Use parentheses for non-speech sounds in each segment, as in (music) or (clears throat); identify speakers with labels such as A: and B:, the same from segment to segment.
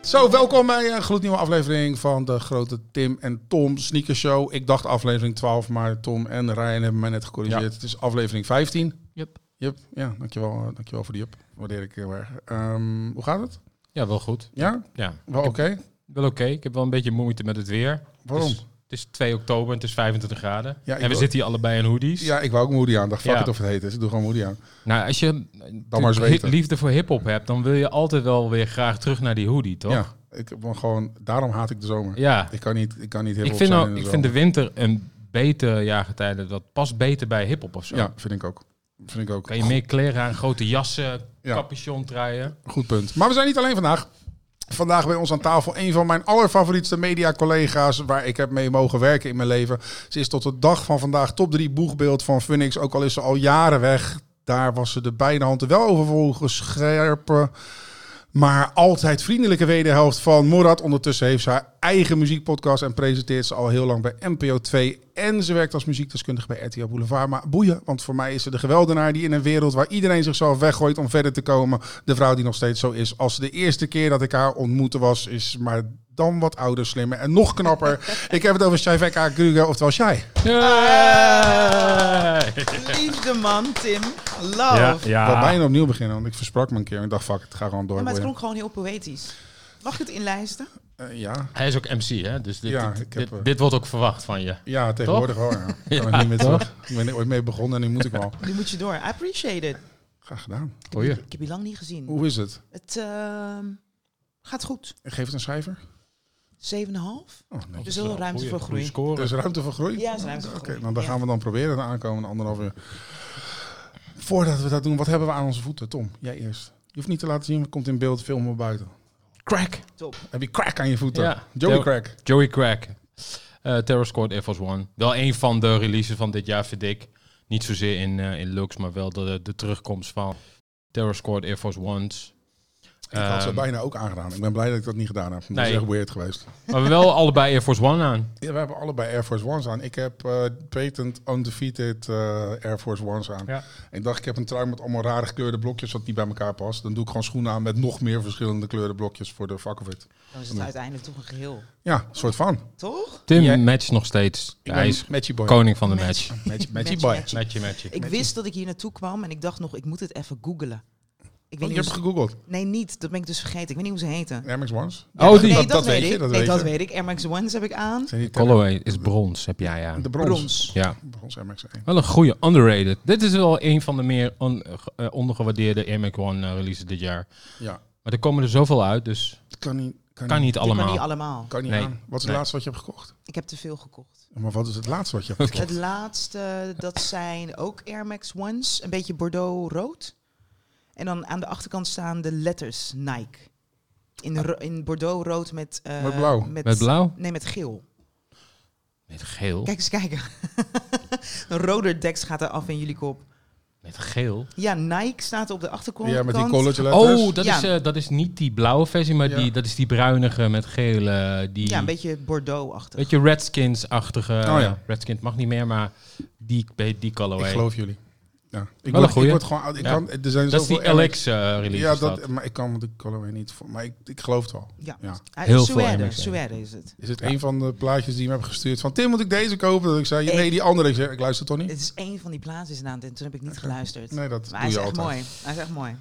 A: Zo, welkom bij een gloednieuwe aflevering van de grote Tim en Tom Sneaker Show. Ik dacht aflevering 12, maar Tom en Ryan hebben mij net gecorrigeerd.
B: Ja.
A: Het is aflevering 15.
B: Yep.
A: Jup, ja, dankjewel, eh, dankjewel voor die up. Waardeer ik heel erg. Ehm, hoe gaat het?
B: Ja, wel goed.
A: Ja,
B: Ja,
A: wel oké.
B: wel oké. Ik heb wel een beetje moeite met het weer.
A: Waarom?
B: Het is, het is 2 oktober en het is 25 graden.
A: Ja, ik
B: en we
A: ook.
B: zitten hier allebei in hoodies.
A: Ja, ik wou ook moody aan. Dacht, fuck
B: Ja.
A: het of het heet is. Ik doe gewoon moody aan.
B: Nou, als je
A: Dan maar
B: natuurlijk
A: zweten.
B: hi- liefde voor hip-hop hebt, dan wil je altijd wel weer graag terug naar die hoodie, toch?
A: Ja, ik heb wel gewoon... Daarom haat ik de zomer.
B: Ja.
A: Ik kan niet, ik kan niet heel
B: Ik vind,
A: zijn
B: al,
A: in de
B: ik
A: zomer.
B: vind de winter een beter jaargetijde. Dat past beter bij hip-hop of zo.
A: Ja, vind ik ook. Vind ik ook.
B: Kan je meer kleren aan, grote jassen,
A: Ja.
B: capuchon draaien.
A: Goed punt. Maar we zijn niet alleen vandaag. Vandaag bij ons aan tafel een van mijn allerfavorietste media-collega's waar ik heb mee mogen werken in mijn leven. Ze is tot de dag van vandaag top 3 boegbeeld van Phoenix, ook al is ze al jaren weg. Daar was ze de beide handen wel over volgen scherpe, maar altijd vriendelijke wederhelft van Morad. Ondertussen heeft ze haar eigen muziekpodcast en presenteert ze al heel lang bij NPO 2. En ze werkt als muziekdeskundige bij RTL Boulevard. Maar boeien, want voor mij is ze de geweldenaar die in een wereld waar iedereen zichzelf weggooit om verder te komen. De vrouw die nog steeds zo is als de eerste keer dat ik haar ontmoette was, is maar dan wat ouder, slimmer en nog knapper.
C: (laughs)
A: ik heb het over Shaiveka Kruger, oftewel Shai.
B: Hey!
C: Liefde man, Tim. Love.
B: Ja,
A: Ik wil
B: ja.
A: bijna opnieuw beginnen, want ik versprak me een keer en ik dacht, fuck, het ga gewoon door.
C: Ja, maar het
A: boeien.
C: klonk gewoon heel poëtisch. Mag ik het inlijsten?
A: Eh, ja.
B: Hij is ook MC, hè? Dus dit,
A: Ja,
B: dit,
A: ik heb,
B: dit-
A: eh,
B: dit wordt ook verwacht van je.
A: Ja, tegenwoordig wel. Ja. Ik kan er niet meer terug. Ik ben er ooit mee begonnen en nu moet ik wel.
C: Nu moet je door. I appreciate it.
A: Graag gedaan.
B: Goeie.
C: Ik heb je lang niet gezien.
A: Hoe is het?
C: Het ehm, gaat goed. 7,5.
A: Ik geef het een cijfer. Oh, nee.
C: Dus er is wel ruimte voor
B: goede
C: groei. Dus
A: Er
B: score.
A: is ruimte voor groei?
C: Ja, er is ruimte voor
A: Oké,
C: groei.
A: nou, dan
C: Ja.
A: gaan we dan proberen de aankomende anderhalf uur. Voordat we dat doen, wat hebben we aan onze voeten? Tom, jij eerst. Je hoeft niet te laten zien, want het komt in beeld, film maar buiten.
B: Crack.
C: Top.
A: Heb je crack aan je voeten?
B: Ja.
A: Joey
B: Ja.
A: crack.
B: Joey Crack. eh Terror Squad Air Force One. Wel een van de releases van dit jaar, vind ik. Niet zozeer in, eh, in looks, maar wel de, de terugkomst van Terror Squad Air Force Ones.
A: Ik had ze
B: Ehm,
A: bijna ook aangedaan. Ik ben blij dat ik dat niet gedaan heb. Dat
B: Nee.
A: is echt weird geweest.
B: Maar wel allebei Air Force One aan.
A: Ja, we hebben allebei Air Force Ones aan. Ik heb eh, patent undefeated eh, Air Force Ones aan.
B: Ja.
A: Ik dacht, ik heb een trui met allemaal rare gekleurde blokjes wat niet bij elkaar past. Dan doe ik gewoon schoenen aan met nog meer verschillende kleuren blokjes voor de fuck of it.
C: Dan is het uiteindelijk toch een geheel.
A: Ja, soort van.
C: Toch?
B: Tim
A: Jij-
B: matcht nog steeds.
A: Ik
B: Hij
A: ben
B: is
A: matchy boy.
B: koning van de match.
A: Matchy, matchy
C: Matchy,
A: boy.
C: matchy.
B: Matchje, matchje.
C: Ik wist dat ik hier naartoe kwam en ik dacht nog, ik moet het even googlen. Ik
A: Oh,
C: weet
A: je
C: niet
A: hebt
C: hoe ze-
A: gegoogeld.
C: Nee, niet. Dat ben ik dus vergeten. Ik weet niet hoe ze heten.
A: Air Max Ones.
B: Oh, die.
C: nee,
A: dat-
C: dat,
A: dat
C: weet
A: weet je,
C: ik.
A: dat
C: nee,
A: weet
C: dat
A: je.
C: weet ik. Air Max Ones heb ik aan.
A: Zijn die
B: Colorway is brons, heb jij aan.
A: De brons.
C: Brons.
B: Ja.
A: Brons Air Max 1.
B: Wel een goede, underrated. Dit is wel een van de meer on- eh, ondergewaardeerde Air Max One eh, releases dit jaar.
A: Ja.
B: Maar er komen er zoveel uit, dus
A: Kan niet. Kan,
B: kan niet
C: Ik kan
B: allemaal.
C: niet allemaal.
A: Kan niet
B: Nee.
A: aan. Wat is het
B: Nee.
A: laatste wat je hebt gekocht?
C: Ik heb te veel gekocht.
A: Maar wat is het laatste wat je hebt gekocht?
C: Het laatste, dat zijn ook Air Max Ones. Een beetje Bordeaux rood. En dan aan de achterkant staan de letters Nike. In, ro- in Bordeaux rood met... eh,
A: Ah. Met blauw. Oh.
B: Met blauw?
C: Nee, met geel.
B: Met geel.
C: Kijk eens kijken. (laughs) een roder deks gaat er af in jullie kop.
B: Met geel.
C: Ja, Nike staat er op de achterkant.
A: Ja, met die college letters.
B: Oh, dat,
C: Ja.
B: is, eh, dat is niet die blauwe versie, maar
A: Ja.
B: die, dat is die bruinige met gele. Die,
C: Ja, een beetje Bordeaux-achtig.
B: beetje Redskins-achtige. eh,
A: Oh ja.
B: Redskins mag niet meer, maar die, die
A: Ik
B: colorway.
A: geloof jullie. Ja. Ik,
B: Oh, een
A: word, ik
B: goeie.
A: word gewoon oud. Ik
B: Ja.
A: kan, er zijn
B: dat is
A: zoveel
B: die eh,
A: Air Max-
B: LX-release.
A: Ja, dat, maar ik kan de colorway niet voor. Maar ik, ik geloof het wel.
C: Ja.
A: Ja.
C: Ah,
B: Heel veel Air
C: Suède,
B: Max, ja.
C: Suède is het.
A: Is het een van de plaatjes die je me hebben gestuurd van Tim moet ik deze kopen? Dat ik zei ja, nee die andere. Ik, zeg, ik luister toch niet.
C: Het is één van die plaatsen in en toen heb ik niet geluisterd.
A: Nee dat
C: maar hij
A: doe
C: is
A: je
C: echt
A: altijd.
C: mooi. Hij is echt mooi.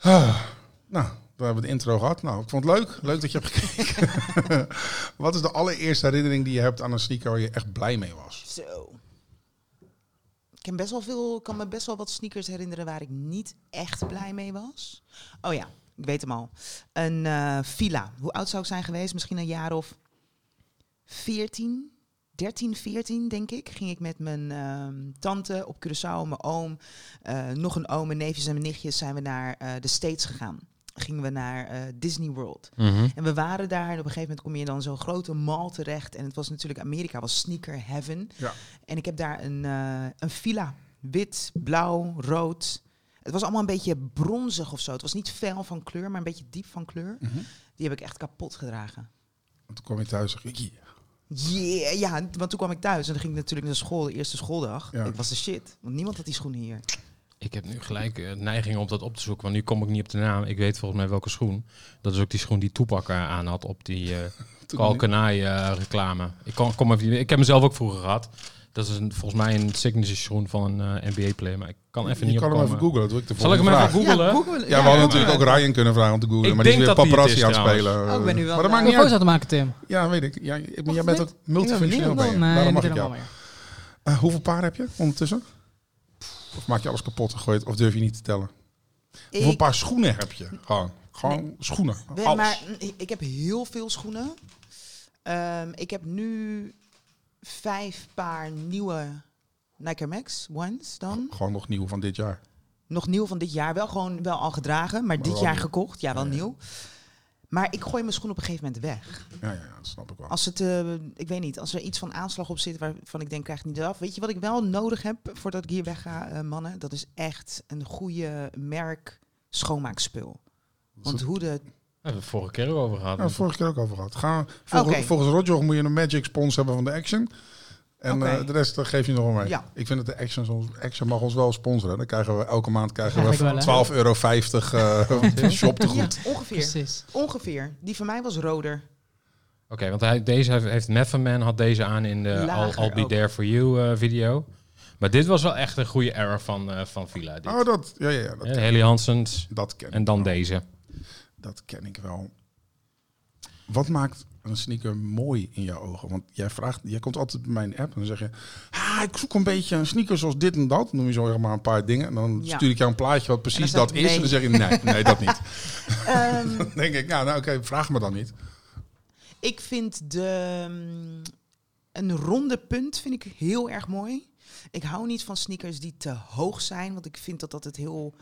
A: Ah, nou, dan hebben we de intro gehad. Nou, ik vond het leuk. Leuk dat je hebt gekeken. (laughs) Wat is de allereerste herinnering die je hebt aan een sneaker waar je echt blij mee was?
C: Zo. Ik ken best wel veel, kan me best wel wat sneakers herinneren waar ik niet echt blij mee was. Oh ja, ik weet hem al. Een eh, villa. Hoe oud zou ik zijn geweest? Misschien een jaar of 14, 13, 14 denk ik. Ging ik met mijn ehm, tante op Curaçao, mijn oom, eh, nog een oom, mijn neefjes en mijn nichtjes zijn we naar eh, de States gegaan. Gingen we naar eh, Disney World.
B: Mhm.
C: En we waren daar en op een gegeven moment kom je dan zo'n grote mall terecht. En het was natuurlijk Amerika, was sneaker heaven.
A: Ja.
C: En ik heb daar een, eh, een villa. Wit, blauw, rood. Het was allemaal een beetje bronzig of zo. Het was niet fel van kleur, maar een beetje diep van kleur.
B: Mhm.
C: Die heb ik echt kapot gedragen.
A: En Toen kwam je thuis en dacht ik, "Jee."
C: Yeah, ja, want toen kwam ik thuis en dan ging ik natuurlijk naar school, de eerste schooldag.
A: Ja.
C: Ik was de shit, want niemand had die schoenen hier.
B: Ik heb nu gelijk eh, neiging om dat op te zoeken, want nu kom ik niet op de naam. Ik weet volgens mij welke schoen. Dat is ook die schoen die Toepak eh, aan had op die eh Kalkenai eh, reclame. Ik, kon, kom even, ik heb mezelf ook vroeger gehad. Dat is een, volgens mij een signature schoen van een eh, NBA-player, maar ik kan even
A: je
B: niet
A: kan hem
B: opkomen.
A: even googlen. dat doe ik de
B: Zal ik hem
A: volgende
B: even
A: vraag.
B: googelen?
C: Ja, googelen.
A: Ja, we hadden natuurlijk ook Ryan kunnen vragen om te googlen,
B: Ik
A: maar die is
B: denk
A: weer
B: dat die het
A: paparazzi aan
B: is
A: het spelen.
C: Oh, ik ben nu wel
A: maar dat maakt niet
C: blij.
A: uit.
D: Microfoons aan te maken, Tim.
A: Ja, weet ik. Ja, je- maar jij
D: het
A: bent
D: niet?
A: ook multifunctioneel. Ben je.
D: Nee,
A: Daarom
D: niet
A: mag ik jou.
D: helemaal meer.
A: Eh, hoeveel paar heb je ondertussen? Of maak je alles kapot gegooid? Of durf je niet te tellen? Hoeveel
C: Ik,
A: paar schoenen heb je? Gewoon, gewoon schoenen.
C: ben-
A: alles.
C: maar, mm, ik- ik heb heel veel schoenen. Ehm, ik heb nu vijf paar nieuwe Nike Air Max Ones dan.
A: Gewoon nog nieuw van dit jaar.
C: Nog nieuw van dit jaar. Wel gewoon wel al gedragen, maar, dit
A: wel
C: jaar
A: nieuw.
C: gekocht. Ja, wel
A: Ja, ja.
C: nieuw. Maar ik gooi mijn schoen op een gegeven moment weg.
A: Ja, ja, ja, dat snap ik wel.
C: Als het, eh, ik weet niet, als er iets van aanslag op zit waarvan ik denk, krijg het niet af. Weet je wat ik wel nodig heb voordat ik hier weg ga, eh, mannen? Dat is echt een goede merk schoonmaakspul. Want hoe de...
B: Daar hebben we het vorige keer ook over gehad.
A: Ja, vorige keer ook over gehad. Ga, volgens,
C: Oké.
A: volgens Roger moet je een magic spons hebben van de Action. En
C: Oké.
A: eh, de rest eh, geef je nog wel mee.
C: Ja.
A: Ik vind dat de Action, ons- action mag ons wel sponsoren. Dan krijgen we elke maand krijgen we
D: Eigenlijk wel, hè?
A: 12,50 euro
B: (laughs)
A: eh (laughs) shop te
C: Ja,
A: goed.
C: ongeveer.
D: Precies.
C: Ongeveer. Die van mij was roder.
B: Oké, want hij, deze heeft, heeft Method Man had deze aan in de
C: Lager
B: I'll, I'll Be
C: ook.
B: There For You eh, video. Maar dit was wel echt een goede error van, eh, van Villa. Dit.
A: Oh, dat, ja, ja, ja, dat,
B: Ja, Haley Hansens
A: dat ken
B: en
A: ik
B: dan
A: wel.
B: deze.
A: Dat ken ik wel. Wat maakt een sneaker mooi in jouw ogen? Want jij vraagt, jij komt altijd bij mijn app en dan zeg je, ah, ik zoek een beetje een sneaker zoals dit en dat. Dan noem je zo zeg maar een paar dingen. En dan
C: Ja.
A: stuur ik jou een plaatje wat precies
C: zeg
A: dat
C: ik,
A: is.
C: nee.
A: En dan zeg je, nee, nee, dat niet.
C: Ehm,
A: Dan denk ik, nou, nou oké, vraag me dan niet.
C: Ik vind de, mm, een ronde punt vind ik heel erg mooi. Ik hou niet van sneakers die te hoog zijn, want ik vind dat dat het heel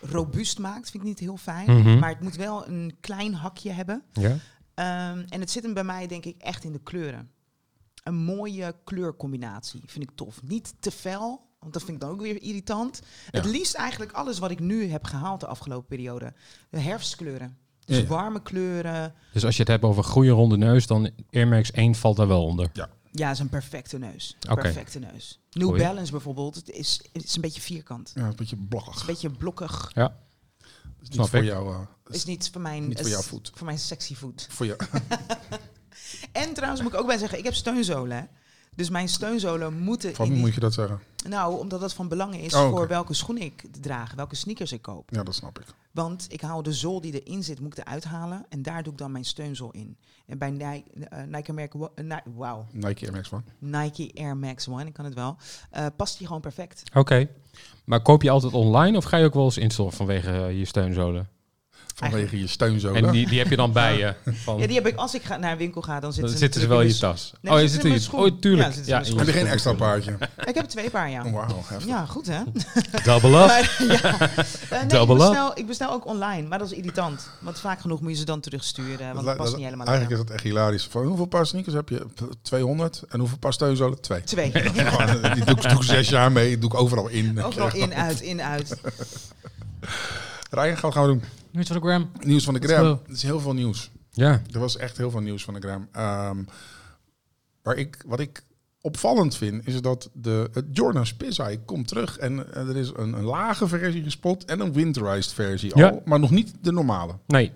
C: robuust maakt. Vind ik niet heel fijn.
B: Mhm.
C: Maar het moet wel een klein hakje hebben.
B: Ja?
C: Ehm, en het zit hem bij mij denk ik echt in de kleuren. Een mooie kleurcombinatie vind ik tof. Niet te fel, want dat vind ik dan ook weer irritant. Het liefst eigenlijk alles wat ik nu heb gehaald de afgelopen periode. De herfstkleuren. Dus
A: Ja, ja.
C: warme kleuren.
B: Dus als je het hebt over goede ronde neus, dan Air Max 1 valt daar wel onder.
C: Ja, het is een perfecte neus. Een
B: Oké.
C: Perfecte neus. New
B: Goeie.
C: Balance bijvoorbeeld, het is, het is een beetje vierkant.
A: Ja, een beetje blakkig.
C: Een beetje blokkig.
A: Dat is
B: Snap
A: niet voor
B: ik.
A: jou. eh, dat is
C: Is niet voor mijn,
A: Niet voor
C: is
A: jouw voet.
C: Voor mijn sexy voet.
A: voor jou.
C: En trouwens moet ik ook bij zeggen, ik heb steunzolen. hè. Dus mijn steunzolen moeten... in
A: Van
C: die-
A: moet je dat zeggen?
C: Nou, omdat dat van belang is
A: Oh, oké.
C: voor welke schoen ik draag, welke sneakers ik koop.
A: Ja, dat snap ik.
C: Want ik haal de zool die erin zit, moet ik eruit halen. En daar doe ik dan mijn steunzool in. En bij Nike, eh, Nike, merk, wa- eh, Ni- wauw,
A: Nike Air Max One.
C: Nike Air Max One, ik kan het wel. eh, past die gewoon perfect.
B: Oké. Maar koop je altijd online of ga je ook wel eens instellen vanwege eh, je steunzolen?
A: Vanwege je steunzolen.
B: En die, die heb je dan bij je. Van,
C: Ja, die heb ik. Als ik ga, naar een winkel ga, dan
B: Oh. dan
C: zitten,
B: zitten ze wel in
C: natuurlijk
B: je tas.
C: Nee,
B: oh,
C: ze
B: je
C: zitten
B: zit
C: in
B: in
C: mijn
B: je
C: schoen.
B: Oh,
C: Ja,
B: tuurlijk.
C: ze
B: Ja,
C: zitten in mijn
B: in je
A: Heb je geen
B: schoen.
A: extra paardje?
C: mijn- Ik heb er twee paar, ja.
A: Wauw, heftig.
C: Ja, goed
B: (laughs)
C: hè.
B: Double up.
C: Maar, (laughs) ja. Eh, nee, ik,
B: Double up.
C: bestel, ik bestel ook online, maar dat is irritant. Want vaak genoeg moet je ze dan
A: Dat
C: terugsturen, want het
A: li-
C: past
A: dat-
C: niet helemaal
A: Eigenlijk
C: lekker.
A: is dat echt hilarisch. Van hoeveel paar sneakers heb je? P- 200. En hoeveel paar steunzolen? Twee.
C: Twee.
B: (laughs)
A: Gewoon, (laughs) die doe ik, doe ik zes jaar mee. Doe ik overal in.
C: (laughs) Ook wel in, uit, in, uit.
A: Ryan, gaan we gaan doen.
D: Nu is het voor de gram.
A: Nieuws van de
D: Let's
A: gram.
D: go.
A: Het is heel veel nieuws.
B: Ja.
A: Er was echt heel veel nieuws van de gram. Ehm, waar ik, wat ik opvallend vind, is dat de, het Jordan Spizai komt terug. En eh, er is een, een lage versie gespot en een winterized versie al.
B: Ja.
A: Maar nog niet de normale.
B: Nee.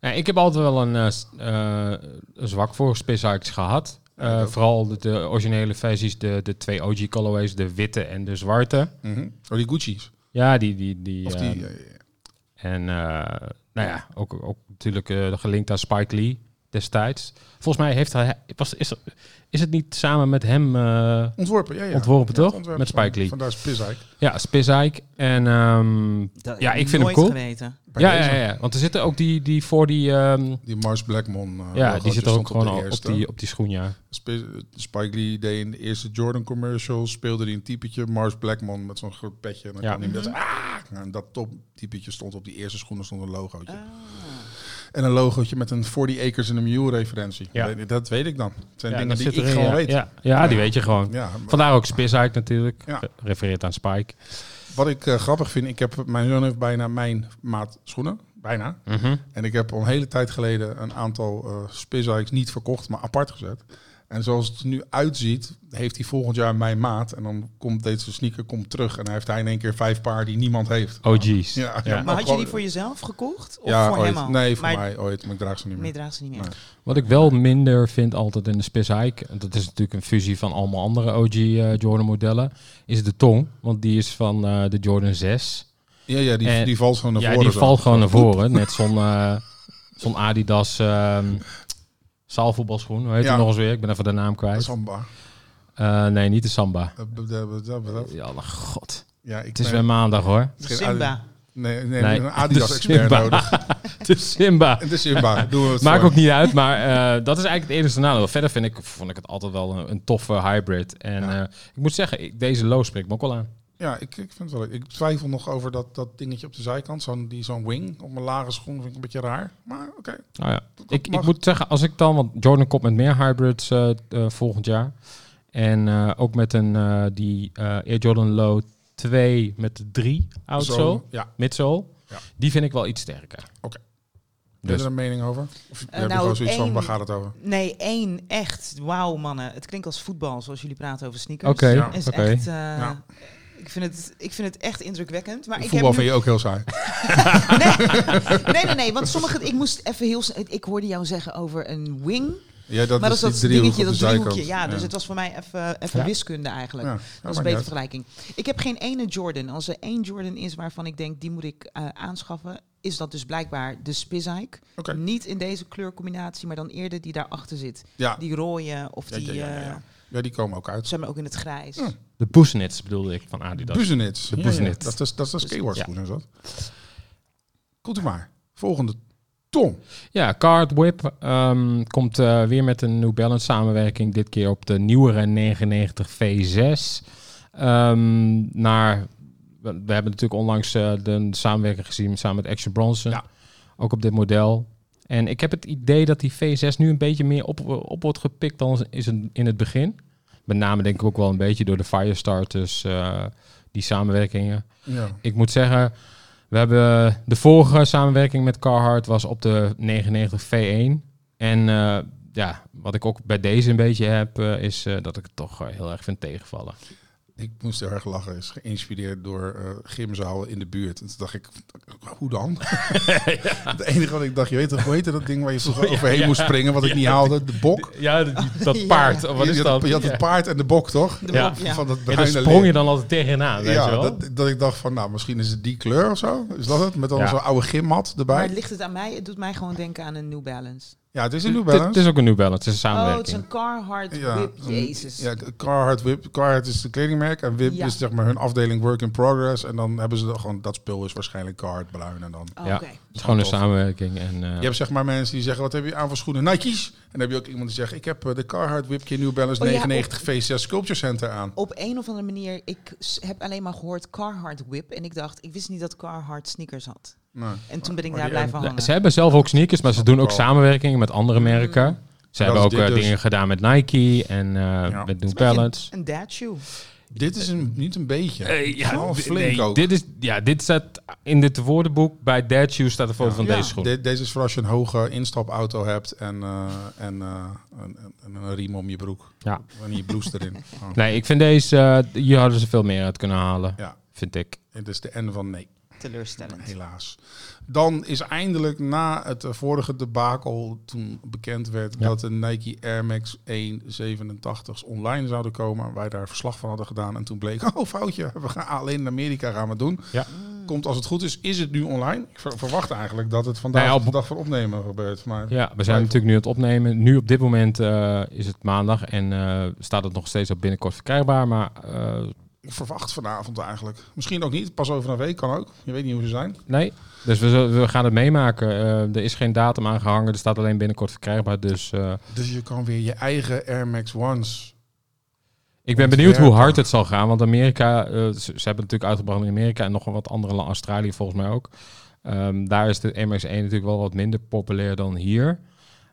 B: Nee, ik heb altijd wel een, eh, s- eh, een zwak voor spishikes gehad. Eh,
A: Ja, ik ook.
B: vooral de, de originele versies, de, de twee OG colorways, de witte en de zwarte.
A: Mhm. Oh, die Gucci's.
B: Ja, die... die, die,
A: Of
B: eh,
A: die, eh,
B: En eh, nou ja, ook, ook natuurlijk eh, gelinkt aan Spike Lee destijds. Volgens mij heeft hij, was, is, er- is het niet samen met hem eh,
A: ontworpen, ja, ja.
B: ontworpen,
A: Ja,
B: toch?
A: ontwerp
B: Met
A: van-
B: Spike Lee.
A: Vandaar Spizai.
B: Ja, Spizike. En ehm,
C: Dat
B: Ja,
C: heb
B: ik vind hem
C: nooit
B: cool.
C: geweten.
A: Bij
B: ja, ja,
A: deze. Oh,
B: ja, ja, want er zitten ook die, die voor die... ehm,
A: Die Mars Blackmon. eh,
B: ja, die
A: logootje
B: zitten ook
A: stond
B: gewoon
A: de
B: al op
A: eerste.
B: die, op die schoen, ja.
A: Spi- Spike Lee deed in de eerste Jordan commercial, speelde hij een typetje, Mars Blackmon met zo'n groot petje. En dan
B: Ja. Mhm.
A: kwam hij met, ah! en dat top typetje stond op die eerste schoenen stond een logootje.
C: Ah.
A: En een logootje met een 40 Acres in a Mule referentie.
B: Ja.
A: Dat, dat weet ik dan. Het zijn
B: ja,
A: dingen
B: dat
A: die
B: zit
A: ik
B: erin,
A: gewoon
B: ja.
A: weet. Ja.
B: Ja, ja, die weet je gewoon.
A: maar
B: Vandaar ook Spizike natuurlijk.
A: Ja.
B: eh, Refereert aan Spike.
A: Wat ik eh, grappig vind, ik heb, mijn zoon heeft bijna mijn maat schoenen. Bijna. En ik heb al een hele tijd geleden een aantal eh Spizikes niet verkocht, maar apart gezet. En En zoals het er nu uitziet, heeft hij volgend jaar mijn maat. En dan komt deze sneaker komt terug. En dan heeft hij in één keer vijf paar die niemand heeft.
B: Oh jeez.
A: Ja,
B: Ja.
A: nou,
C: Maar had je die
A: gewoon-
C: voor jezelf gekocht? Of
A: ja,
C: voor
A: ooit.
C: hem al?
A: Nee, voor
C: maar
A: mij ooit. Maar ik draag ze niet meer.
C: Meer draagt ze niet meer.
A: Nee.
B: Wat ik wel minder vind altijd in de Spice Hike, en dat is natuurlijk een fusie van allemaal andere OG eh, Jordan modellen, is de tong. Want die is van eh, de Jordan 6.
A: Ja, ja die,
B: Eh,
A: die valt gewoon naar
B: ja,
A: voren.
B: die
A: zo.
B: valt gewoon naar voren. Net zo'n eh, zo'n Adidas ehm zaalvoetbalschoen. Hoe heet
A: Ja.
B: die nog eens weer? Ik ben even de naam
A: Dat
B: kwijt.
A: is Amba.
B: Eh, nee, niet de Samba.
A: Eh, b- b- b- b- b-
B: Ja, nou, god.
A: Ja, ik
B: Het is
A: ben-
B: weer maandag hoor.
A: Geen
C: Simba.
A: Nee, nee,
B: Nee,
A: een
B: de
A: Adidas-expert
B: Simba.
A: nodig.
B: De Simba.
A: (laughs) Het is
B: (laughs)
A: Simba. Doen we het
B: Maakt
A: voor.
B: ook niet uit, maar eh, dat is eigenlijk het enige nadeel. Verder vind ik, vond ik het altijd wel een, een toffe hybrid. En
A: Ja.
B: eh, ik moet zeggen, ik, deze low spreekt me ook wel aan.
A: Ja, ik, ik vind het wel leuk. Ik twijfel nog over dat, dat dingetje op de zijkant. Zo'n, die, zo'n wing op mijn lage schoen vind ik een beetje raar. Maar oké.
B: Nou ja,
A: dat
B: ik, ik
A: mag.
B: moet zeggen, als ik dan, want Jordan komt met meer hybrids eh, eh, volgend jaar. En eh, ook met een, eh, die eh, Air Jordan Low 2 met de 3 outsole,
A: Zo,
C: Dus.
A: ja,
B: midsole.
A: Ja.
B: die vind ik wel iets sterker.
A: Oké. heb je
B: Dus,
A: er een mening over? Of heb je
C: nou,
A: gewoon zoiets van,
C: één-
A: waar gaat het over?
C: Nee, één echt. Wauw, mannen. Het klinkt als voetbal, zoals jullie praten over sneakers.
B: oké,
A: Ja.
C: Is
B: oké.
C: echt, eh,
A: Ja.
C: ik, vind het, ik vind het echt indrukwekkend. Maar ik heb
A: Voetbal
C: nu
A: vind je ook heel
C: (laughs)
A: saai.
C: Nee, (laughs) nee, nee. Want sommige... Ik moest even heel... snel- Ik hoorde jou zeggen over een wing.
A: Ja, dat
C: maar
A: is
C: dat
A: die
C: is dat
A: driehoek
C: dingetje,
A: op de
C: dat
A: zijkant.
C: driehoekje. Ja, dus
A: Ja.
C: het was voor mij even, even
B: Ja.
C: wiskunde eigenlijk.
A: Ja, ja,
C: Dat
A: maakt
C: is een
A: niet
C: betere
A: uit.
C: vergelijking. Ik heb geen ene Jordan. Als er één Jordan is waarvan ik denk, die moet ik eh, aanschaffen... is dat dus blijkbaar de Spizike.
A: Oké.
C: Niet in deze kleurcombinatie, maar dan eerder die daarachter zit.
A: Ja.
C: Die rode of
A: Ja, ja,
C: die...
A: ja, Hm. ja, ja.
C: eh,
A: ja, die komen ook uit.
C: zijn we ook in het grijs.
A: Ja.
B: De Boesenits bedoelde ik van Adidas.
A: Buzenits.
B: De Buzenits.
A: Dat is, dat is een skateboard
B: Ja.
A: schoen en zo. Komt u maar. Volgende. Tom.
B: Ja, Card Whip ehm, komt eh, weer met een New Balance samenwerking. Dit keer op de nieuwere 99 V6. Ehm, naar, we, we hebben natuurlijk onlangs eh, de samenwerking gezien samen met Action Bronson.
A: Ja.
B: Ook op dit model. En ik heb het idee dat die V6 nu een beetje meer op, op wordt gepikt dan is het in het begin. Met name denk ik ook wel een beetje door de Firestarters, eh, die samenwerkingen
A: Ja.
B: ik moet zeggen, we hebben de vorige samenwerking met Carhartt was op de 99 V1. En eh, ja, wat ik ook bij deze een beetje heb, eh, is eh, dat ik het toch eh, heel erg vind tegenvallen.
A: Ik moest heel erg lachen. Is geïnspireerd door eh gymzalen in de buurt. En toen dacht ik, hoe
C: (laughs)
A: dan? (laughs) Het enige wat ik dacht, je weet toch, hoe heette dat ding waar je vroeger overheen moest springen, wat ik niet haalde? De bok?
B: Ja, (laughs)
C: dat Ja. paard,
A: je, je had, je had het paard en de bok, toch?
C: De
B: Ja.
C: blok, ja.
A: Van dat
B: En
A: bruine
B: daar sprong je
A: lint.
B: dan altijd tegenaan, weet
A: ja,
B: je wel?
A: Dat, dat ik dacht van, nou, misschien is het die kleur of zo. Is dat het? Met dan
B: Ja.
A: zo'n oude gymmat
C: Maar
A: erbij.
C: ligt het aan mij? Het doet mij gewoon denken aan een New Balance.
A: Ja, het is een New
B: Het- Het
A: Balance.
B: is ook een New Balance, het is een
C: Oh, het is
B: samenwerking.
C: een Carhartt
A: Ja,
C: whip.
A: een-
C: Jezus.
A: Ja, Carhartt, Whip. Carhartt is de kledingmerk en Whip
C: Ja.
A: is zeg maar hun afdeling work in progress. En dan hebben ze er gewoon, dat spul is waarschijnlijk Carhartt bruin en dan...
C: Oh,
B: Ja.
C: oké.
B: het is gewoon een
A: Tof.
B: samenwerking. En, eh,
A: Je hebt zeg maar mensen die zeggen, wat heb je aan voor schoenen? Nike's. En dan heb je ook iemand die zegt, ik heb eh, de Carhartt Whipje New Balance
C: Oh ja,
A: 99 V6 Sculpture Center aan.
C: Op een of andere manier, ik s- heb alleen maar gehoord Carhartt whip. En ik dacht, ik wist niet dat Carhartt sneakers had.
A: Nou,
C: En toen ben ik
A: maar
C: daar
A: die-
C: blijven
B: de-
C: hangen.
B: ze hebben zelf ook sneakers, maar ze
A: Snap ik
B: doen ook
A: wel.
B: samenwerkingen met andere merken. Ze
A: Oh. Dat
B: hebben ook
A: is dit
B: eh,
A: dus.
B: dingen gedaan met Nike en eh,
A: Het
B: met New
C: Het is een beetje
B: Balance.
C: Een, een dad shoe.
A: dit is een, niet een beetje.
B: Eh, ja,
A: Gewoon
B: d-
A: flink
B: nee,
A: ook.
B: Dit, is, ja, dit staat in dit woordenboek. Bij Dad Shoes staat de foto
A: Ja.
B: van
C: Ja.
B: deze schoen.
A: De- deze is voor als je een hoge instapauto hebt en, eh, en, eh, en, en- en een riem om je broek.
B: Ja.
A: En je blouse erin. Oh.
B: Nee, ik vind deze... eh, hier hadden ze veel meer uit kunnen halen,
A: Ja,
B: vind ik.
A: het is de N van nee.
C: Teleurstellend.
A: Helaas. Dan is eindelijk na het eh, vorige debakel toen bekend werd
B: Ja.
A: dat de Nike Air Max 187's online zouden komen. Wij daar verslag van hadden gedaan en toen bleek, (laughs) oh foutje, we gaan alleen in Amerika gaan we het doen.
B: Ja.
A: Komt als het goed is, is het nu online? Ik ver- verwacht eigenlijk dat het vandaag
B: Nou ja,
A: op de dag van opnemen gebeurt. Maar
B: Ja, we zijn natuurlijk nu aan het opnemen. Nu op dit moment eh, is het maandag en eh, staat het nog steeds op binnenkort verkrijgbaar. Maar eh,
A: ik verwacht vanavond eigenlijk. Misschien ook niet, pas over een week kan ook. Je weet niet hoe ze zijn.
B: nee, dus we, zullen- we gaan het meemaken. Eh, er is geen datum aangehangen, er staat alleen binnenkort verkrijgbaar. Dus eh,
A: Dus je kan weer je eigen Air Max Ones.
B: ik ben benieuwd hoe hard het zal gaan. Want Amerika, eh, ze, ze hebben het natuurlijk uitgebracht in Amerika en nog wel wat andere landen, Australië volgens mij ook. Ehm, daar is de MX1 natuurlijk wel wat minder populair dan hier.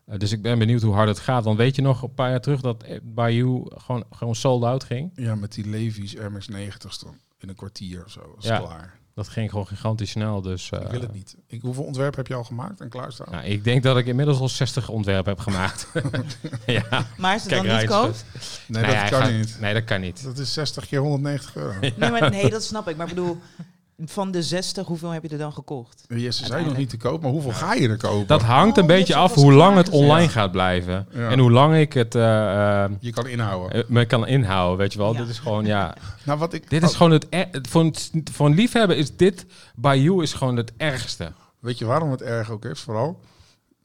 B: Eh, dus ik ben benieuwd hoe hard het gaat. Want weet je nog een paar jaar terug dat eh, Bayou gewoon, gewoon sold out ging?
A: Ja, met die Levi's Air Max 90's dan. In een kwartier of zo. Dat is
B: Ja.
A: klaar.
B: Dat ging gewoon gigantisch snel. Dus, eh,
A: Ik wil het niet. Ik, hoeveel ontwerpen heb je al gemaakt en klaarstaan?
B: Nou, ik denk dat ik inmiddels al 60 ontwerpen heb gemaakt.
A: (laughs)
B: (laughs) ja.
C: Maar is het
B: Kijk,
C: dan niet
B: Ryan,
C: koop?
A: dus. nee, dat
B: Nee, Nou hij
A: kan
B: gaat-
A: niet.
B: Nee, dat kan niet.
A: Dat is 60 keer 190 euro.
B: (laughs)
C: Nee,
A: (laughs)
C: maar, nee, dat snap ik. Maar ik bedoel, van de 60, hoeveel heb je er dan gekocht?
A: Die is ze zijn nog
C: Uiteindelijk.
A: niet te koop, maar hoeveel ga je er kopen?
B: Dat hangt een
C: Oh,
B: beetje
C: dat is
B: af
C: wel dus
B: hoe lang het
C: smaak,
B: online
A: ja.
B: gaat blijven.
A: Ja.
B: En hoe lang ik het eh, eh,
A: Je kan inhouden.
B: eh, me kan inhouden, weet je wel.
C: Ja.
B: Dit is gewoon,
C: (laughs)
B: ja...
A: Nou, wat ik,
B: Dit is
A: oh,
B: gewoon het... er- Voor een, voor een liefhebber is dit... By You is gewoon het ergste.
A: Weet je waarom het erg ook is? Vooral,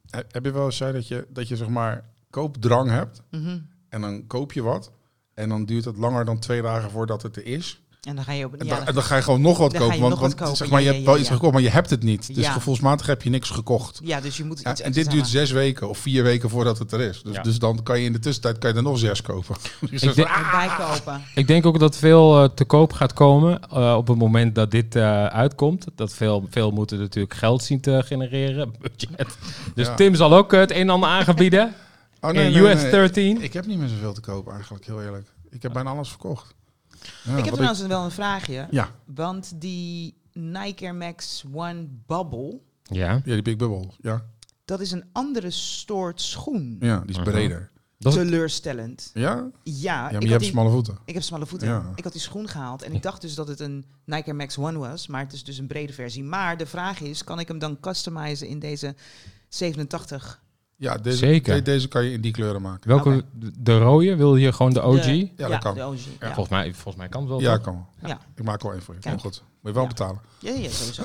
A: he- heb je wel eens zei dat je, dat je zeg maar koopdrang hebt
C: Mhm.
A: en dan koop je wat en dan duurt het langer dan twee dagen voordat het er is.
C: En dan ga je op een
A: En dan, en dan ga je gewoon nog wat
C: dan ga
A: kopen,
C: je
A: want,
C: nog wat
A: want
C: kopen.
A: zeg maar,
C: Ja,
A: je
C: ja,
A: hebt
C: ja,
A: wel iets
C: ja.
A: gekocht, maar je hebt het niet. Dus
C: Ja.
A: gevoelsmatig heb je niks gekocht.
C: Ja, dus je moet
A: Ja,
C: iets
A: en dit duurt zes weken of vier weken voordat het er is. Dus,
B: Ja.
A: dus dan kan je in de tussentijd kan je er nog zes kopen. (laughs) Dus
B: Ik
A: dat-
B: denk-
C: erbij kopen.
B: Ik denk ook dat veel eh, te koop gaat komen eh, op het moment dat dit eh, uitkomt. Dat veel, veel moeten natuurlijk geld zien te genereren, (laughs) budget. Dus
A: Ja.
B: Tim zal ook eh, het een en ander
A: (laughs)
B: aanbieden.
A: Oh,
B: in US 13.
A: Ik heb niet meer zoveel te kopen eigenlijk, heel eerlijk. Ik heb bijna alles verkocht. Ja,
C: ik
A: wat
C: heb trouwens wel een vraagje.
A: Ja.
C: Want die Nike Air Max One Bubble,
B: Ja,
A: Ja, die Big Bubble. Ja,
C: dat is een andere soort schoen.
A: ja die is
B: Aha.
A: breder.
B: dat is,
C: Teleurstellend.
A: Ja? ja,
C: Ja,
A: maar je
C: ik,
A: hebt
C: had die,
A: smalle voeten.
C: ik heb smalle voeten.
A: Ja.
C: Ik had die schoen gehaald en ik dacht dus dat het een Nike Air Max One was. Maar het is dus een brede versie. Maar de vraag is, kan ik hem dan customizen in deze 87?
A: Ja, deze,
B: Zeker.
A: de- deze kan je in die kleuren maken.
B: welke,
C: Oké.
B: de rode, wil je gewoon de OG?
C: De-
A: dat kan.
C: de OG, ja.
B: Volgens, mij, volgens mij kan het wel.
A: Ja,
B: Ja,
A: kan wel.
C: Ja.
A: Ik maak al één voor je.
C: Kijk.
A: Kom goed. Moet je wel
C: Ja.
A: betalen.
C: Ja, ja, sowieso.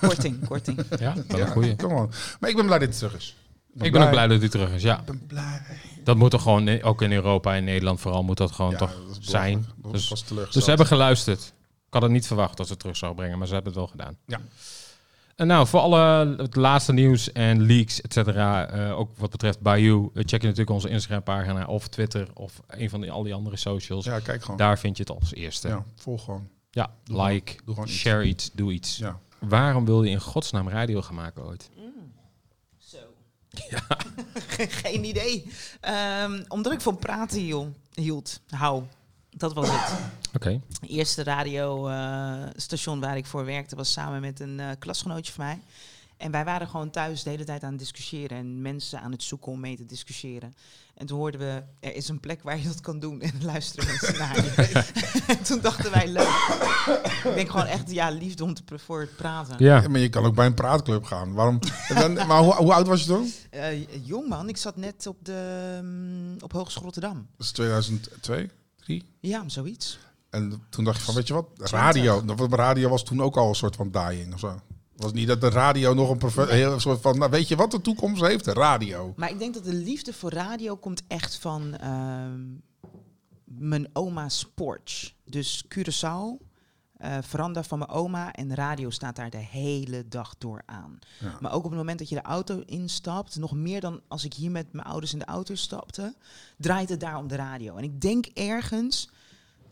C: korting, korting.
B: ja wel een
A: Ja, (laughs)
B: goeie.
A: kom maar. Maar ik ben blij dat het terug is.
B: Ik ben ook blij dat hij terug is, ja.
A: Ik ben blij.
B: Dat moet er gewoon, in- ook in Europa en Nederland vooral, moet dat gewoon
A: Ja,
B: toch...
A: dat is
B: zijn.
A: belachelijk. Dat
B: Dus-
A: was teleurgesteld.
B: Dus ze hebben geluisterd. Ik had het niet verwacht dat ze het terug zou brengen, maar ze hebben het wel gedaan.
A: Ja.
B: En nou, voor alle het laatste nieuws en leaks, et cetera, eh, ook wat betreft Bayou, eh, check je natuurlijk onze Instagram-pagina of Twitter of een van die, al die andere socials.
A: Ja, kijk gewoon.
B: Daar vind je het als eerste. Ja,
A: Ja, volg gewoon. Doe
B: like,
A: gewoon- doe gewoon iets.
B: share iets, doe iets.
A: Ja.
B: Waarom wil je in godsnaam radio gaan maken ooit?
C: Zo. (laughs) Geen idee. Ehm, omdat ik van praten hiel- hield. Hou. Dat was het.
B: Oké.
C: Het eerste radiostation waar ik voor werkte was samen met een eh, klasgenootje van mij. En wij waren gewoon thuis de hele tijd aan het discussiëren en mensen aan het zoeken om mee te discussiëren. En toen hoorden we, er is een plek waar je dat kan doen (laughs) en dan luisteren mensen naar je. En toen dachten wij, leuk. ik denk gewoon echt, ja, liefde om te, pra- voor het praten.
B: Ja.
A: Ja, maar je kan ook bij een praatclub gaan. (laughs) Waarom? En dan- maar hoe, hoe oud was je toen?
C: Eh, jong man, ik zat net op de mm, op Hogeschool Rotterdam.
A: Dat is 2002, 3.
C: Ja, zoiets.
A: En toen dacht je van, weet je wat, radio. Dat- Radio was toen ook al een soort van dying of zo. Was niet dat de radio nog een profe- heel soort van, nou, weet je wat de toekomst heeft? De radio.
C: Maar ik denk dat de liefde voor radio komt echt van ehm, mijn oma's porch. Dus Curaçao, eh veranda van mijn oma en radio staat daar de hele dag door aan.
A: Ja.
C: Maar ook op het moment dat je de auto instapt, nog meer dan als ik hier met mijn ouders in de auto stapte, draait het daar om de radio. En ik denk ergens,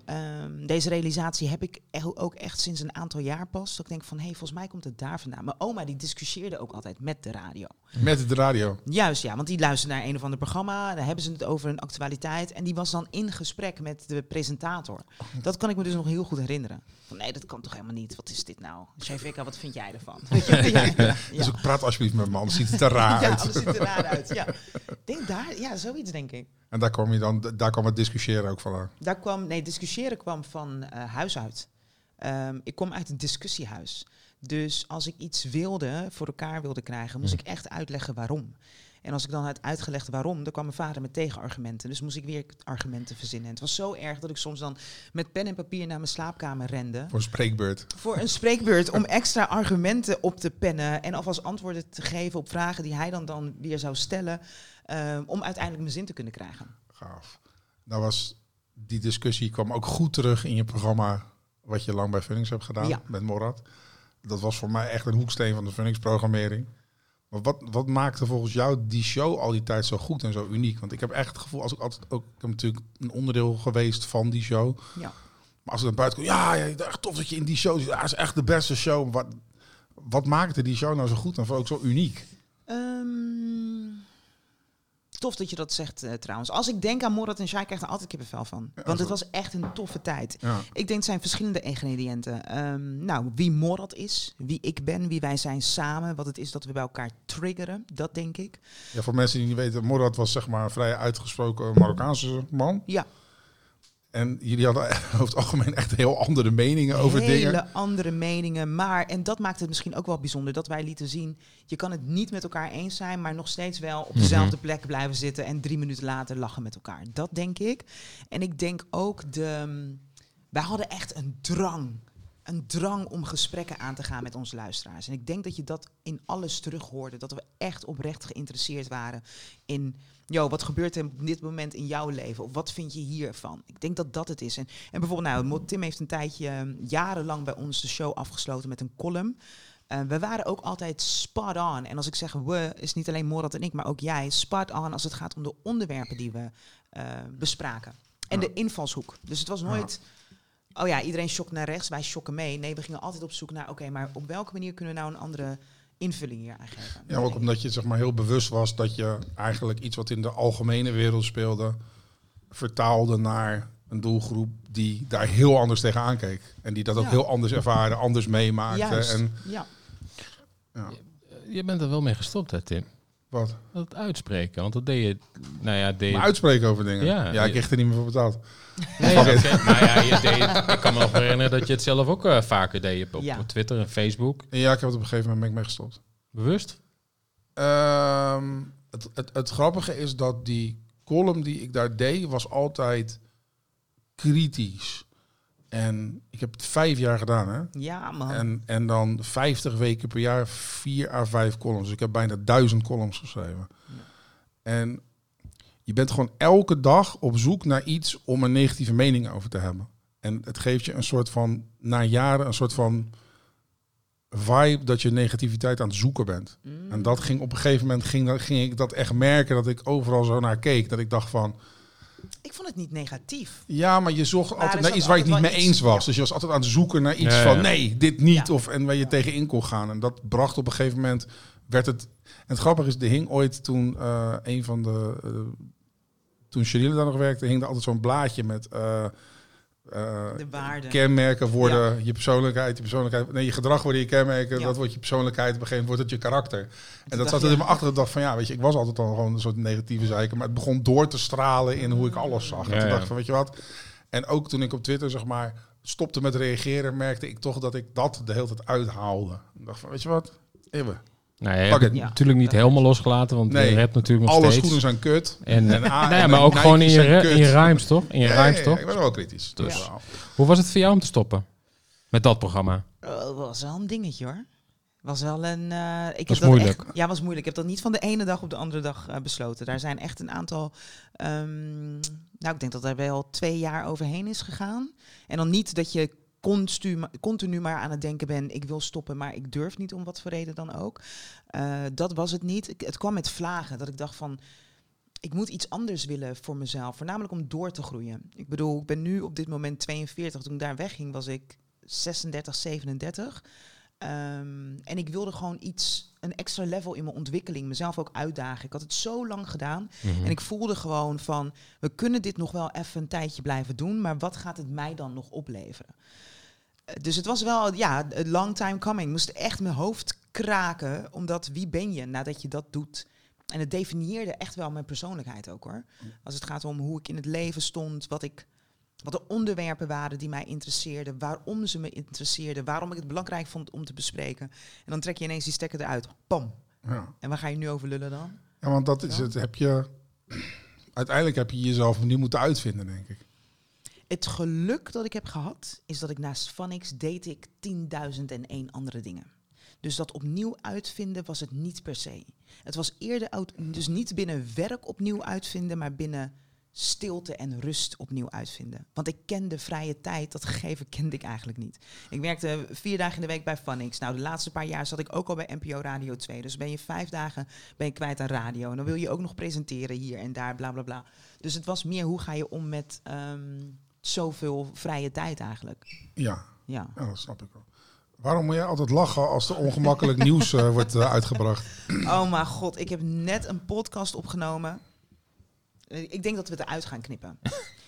C: ehm, deze realisatie heb ik e- ook echt sinds een aantal jaar pas. Dat ik denk van, hé, hey, volgens mij komt het daar vandaan. Mijn oma die discussieerde ook altijd met de radio.
B: Hm.
A: Met de radio.
C: Juist, ja, want die luisterde naar een of ander programma. Daar hebben ze het over een actualiteit. En die was dan in gesprek met de presentator. Dat kan ik me dus nog heel goed herinneren. Van, nee, dat kan toch helemaal niet? Wat is dit nou? Shevika, wat vind jij ervan? Weet je, (laughs) ja, ja, ja.
A: Dus ik praat alsjeblieft met me, anders ziet het er raar
C: Ja,
A: uit.
C: alles ziet er raar uit. Ja. Ik Denk daar, ja, zoiets denk ik.
A: En daar kwam, je dan, daar kwam het discussiëren ook eh, vandaan.
C: Daar kwam, nee, discussiëren kwam van eh, huis uit. Ehm, ik kom uit een discussiehuis. Dus als ik iets wilde, voor elkaar wilde krijgen, moest ik echt uitleggen waarom. En als ik dan had uitgelegd waarom, dan kwam mijn vader met tegenargumenten. Dus moest ik weer argumenten verzinnen. En het was zo erg dat ik soms dan met pen en papier naar mijn slaapkamer rende.
A: Voor een spreekbeurt.
C: Voor een spreekbeurt om extra argumenten op te pennen. En alvast antwoorden te geven op vragen die hij dan, dan weer zou stellen. ehm, om uiteindelijk mijn zin te kunnen krijgen.
A: Gaaf. Nou was, die discussie kwam ook goed terug in je programma... wat je lang bij Funnings hebt gedaan
C: Ja.
A: met Morad. Dat was voor mij echt een hoeksteen van de Funnings-programmering. Maar wat, wat maakte volgens jou die show al die tijd zo goed en zo uniek? Want ik heb echt het gevoel, als ik altijd ook... Ik heb natuurlijk een onderdeel geweest van die show.
C: Ja.
A: Maar als ik naar buiten kom, ja, ja, echt tof dat je in die show zit. Ja, dat is echt de beste show. Wat, wat maakte die show nou zo goed en ook zo uniek?
C: Ehm, Tof dat je dat zegt eh, trouwens. Als ik denk aan Morat en Shai, krijg ik er altijd kippenvel van. Want het
A: goed.
C: was echt een toffe tijd.
A: Ja.
C: Ik denk het zijn verschillende ingrediënten. Ehm, nou, wie Morat is, wie ik ben, wie wij zijn samen, wat het is dat we bij elkaar triggeren, dat denk ik.
A: Ja, voor mensen die niet weten, Morad was zeg maar een vrij uitgesproken Marokkaanse man.
C: Ja,
A: En jullie hadden (laughs) over het algemeen echt heel andere meningen over
C: hele
A: dingen.
C: andere meningen. Maar, en dat maakt het misschien ook wel bijzonder, dat wij lieten zien, je kan het niet met elkaar eens zijn, maar nog steeds wel
A: Mhm.
C: op dezelfde plek blijven zitten en drie minuten later lachen met elkaar. Dat denk ik. En ik denk ook, de, wij hadden echt een drang. Een drang om gesprekken aan te gaan met onze luisteraars. En ik denk dat je dat in alles terughoorde. Dat we echt oprecht geïnteresseerd waren in... Yo, wat gebeurt er op dit moment in jouw leven? Of wat vind je hiervan? Ik denk dat dat het is. En, en bijvoorbeeld, nou, Mo- Tim heeft een tijdje eh, jarenlang bij ons de show afgesloten met een column. Eh, we waren ook altijd spot on. En als ik zeg we, is niet alleen Morad en ik, maar ook jij spot on als het gaat om de onderwerpen die we eh, bespraken. En de invalshoek. Dus het was nooit. Oh ja, iedereen shokt naar rechts, wij shokken mee. Nee, we gingen altijd op zoek naar, oké, maar op welke manier kunnen we nou een andere invulling hier aan geven?
A: Ja, ook omdat je zeg maar, heel bewust was dat je eigenlijk iets wat in de algemene wereld speelde, vertaalde naar een doelgroep die daar heel anders tegen aankeek. En die dat ook
C: Ja.
A: heel anders ervaren, anders meemaakte.
C: Juist,
A: En
C: ja.
B: Je bent er wel mee gestopt, hè, Tim?
A: wat?
B: Dat uitspreken, want dat deed je... Nou ja, deed je...
A: Maar uitspreken over dingen.
B: Ja.
A: Ja, ik kreeg er niet meer voor betaald.
B: Nee,
A: (laughs)
B: ja, oké. Nou ja, je deed, ik kan me nog herinneren dat je het zelf ook eh, vaker deed. Op, op
C: Ja.
B: Twitter en Facebook.
A: En ja, ik heb het op een gegeven moment ben ik mee gestopt.
B: Bewust?
A: Ehm, het, het, het grappige is dat die column die ik daar deed, was altijd kritisch. En ik heb het vijf jaar gedaan, hè?
C: ja, man.
A: En, en dan 50 weken per jaar, vier à vijf columns. Dus ik heb bijna duizend columns geschreven. En je bent gewoon elke dag op zoek naar iets om een negatieve mening over te hebben. En het geeft je een soort van, na jaren, een soort van vibe dat je negativiteit aan het zoeken bent.
C: Mm.
A: En dat ging op een gegeven moment, ging, dat- ging ik dat echt merken, dat ik overal zo naar keek. Dat ik dacht van,
C: Ik vond het niet negatief.
A: ja, maar je zocht
C: Maar er
A: altijd
C: zat
A: naar iets waar je het niet
C: altijd
A: mee
C: wel
A: eens
C: iets,
A: was.
C: ja.
A: Dus je was altijd aan het zoeken naar iets
B: Ja, ja.
A: van nee, dit niet.
C: Ja.
A: Of en waar je tegenin kon gaan. En dat bracht op een gegeven moment werd het. En het grappige is, er hing ooit toen eh, een van de. eh, toen Sheryl daar nog werkte, hing er altijd zo'n blaadje met. eh, eh,
C: De waarde.
A: kenmerken worden je persoonlijkheid, je persoonlijkheid, nee, je gedrag worden je kenmerken,
C: Ja.
A: dat wordt je persoonlijkheid, op een gegeven moment wordt het je karakter. En dat
C: dacht
A: zat
C: je-
A: er dus in mijn achter, dacht van ja, weet je, ik was altijd al gewoon een soort negatieve zeiker, maar het begon door te stralen in hoe ik alles zag.
B: Ja,
A: en toen
B: ja.
A: dacht ik van, weet je wat, en ook toen ik op Twitter, zeg maar, stopte met reageren, merkte ik toch dat ik dat de hele tijd uithaalde. Ik dacht van, weet je wat, Ewe,
B: Nou ja, je
A: Fuck
B: hebt het
A: it.
C: Ja.
B: natuurlijk niet
C: Dat
B: helemaal losgelaten, want
A: Nee.
B: je hebt natuurlijk nog
A: alle
B: steeds...
A: schoenen zijn kut.
B: en,
A: En A-
B: nou ja,
A: en
B: maar ook
A: Nike's
B: gewoon in je,
A: zijn
B: ri-
A: kut.
B: in je rhymes, toch? In je
A: Ja,
B: rhymes,
A: ja, ja,
B: toch?
A: ik ben wel kritisch.
B: Dus.
A: Ja.
B: Hoe was het voor jou om te stoppen? Met dat programma?
C: Oh, was wel een dingetje hoor. Was wel een. eh, ik
B: Was
C: heb
B: moeilijk.
C: Dat echt, ja, was moeilijk. Ik heb dat niet van de ene dag op de andere dag eh, besloten. Daar zijn echt een aantal. ehm, nou, ik denk dat daar wel twee jaar overheen is gegaan. En dan niet dat je continu, continu maar aan het denken bent: ik wil stoppen, maar ik durf niet om wat voor reden dan ook. Eh, dat was het niet. Ik- het kwam met vlagen dat ik dacht van. Ik moet iets anders willen voor mezelf, voornamelijk om door te groeien. Ik bedoel, ik ben nu op dit moment 42. Toen ik daar wegging, was ik 36, 37. Ehm, en ik wilde gewoon iets, een extra level in mijn ontwikkeling, mezelf ook uitdagen. Ik had het zo lang gedaan
B: Mhm. Hm.
C: en ik voelde gewoon van, we kunnen dit nog wel even een tijdje blijven doen, maar wat gaat het mij dan nog opleveren? Eh, Dus het was wel, ja, a long time coming. Ik moest echt mijn hoofd kraken, omdat wie ben je nadat je dat doet? En het definieerde echt wel mijn persoonlijkheid ook hoor. Als het gaat om hoe ik in het leven stond, wat ik wat de onderwerpen waren die mij interesseerden, waarom ze me interesseerden, waarom ik het belangrijk vond om te bespreken. En dan trek je ineens die stekker eruit. Pam.
A: Ja.
C: En waar ga je nu over lullen dan?
A: Ja, want dat is
C: Ja.
A: het. Heb je, uiteindelijk heb je jezelf opnieuw moeten uitvinden, denk ik.
C: Het geluk dat ik heb gehad, is dat ik naast Phonics deed ik 10.001 andere dingen. Dus dat opnieuw uitvinden was het niet per se. Het was eerder, oud- dus niet binnen werk opnieuw uitvinden, maar binnen stilte en rust opnieuw uitvinden. Want ik kende vrije tijd, dat gegeven kende ik eigenlijk niet. Ik werkte vier dagen in de week bij Phonics. Nou, de laatste paar jaar zat ik ook al bij NPO Radio 2. Dus ben je vijf dagen ben je kwijt aan radio. En dan wil je ook nog presenteren hier en daar, bla bla bla. Dus het was meer hoe ga je om met ehm, zoveel vrije tijd eigenlijk.
A: Ja,
C: Ja.
A: ja, dat snap ik wel. Waarom moet jij altijd lachen als er (laughs) ongemakkelijk nieuws eh, wordt eh, uitgebracht?
C: Oh mijn god, ik heb net een podcast opgenomen. Eh, Ik denk dat we het eruit gaan knippen.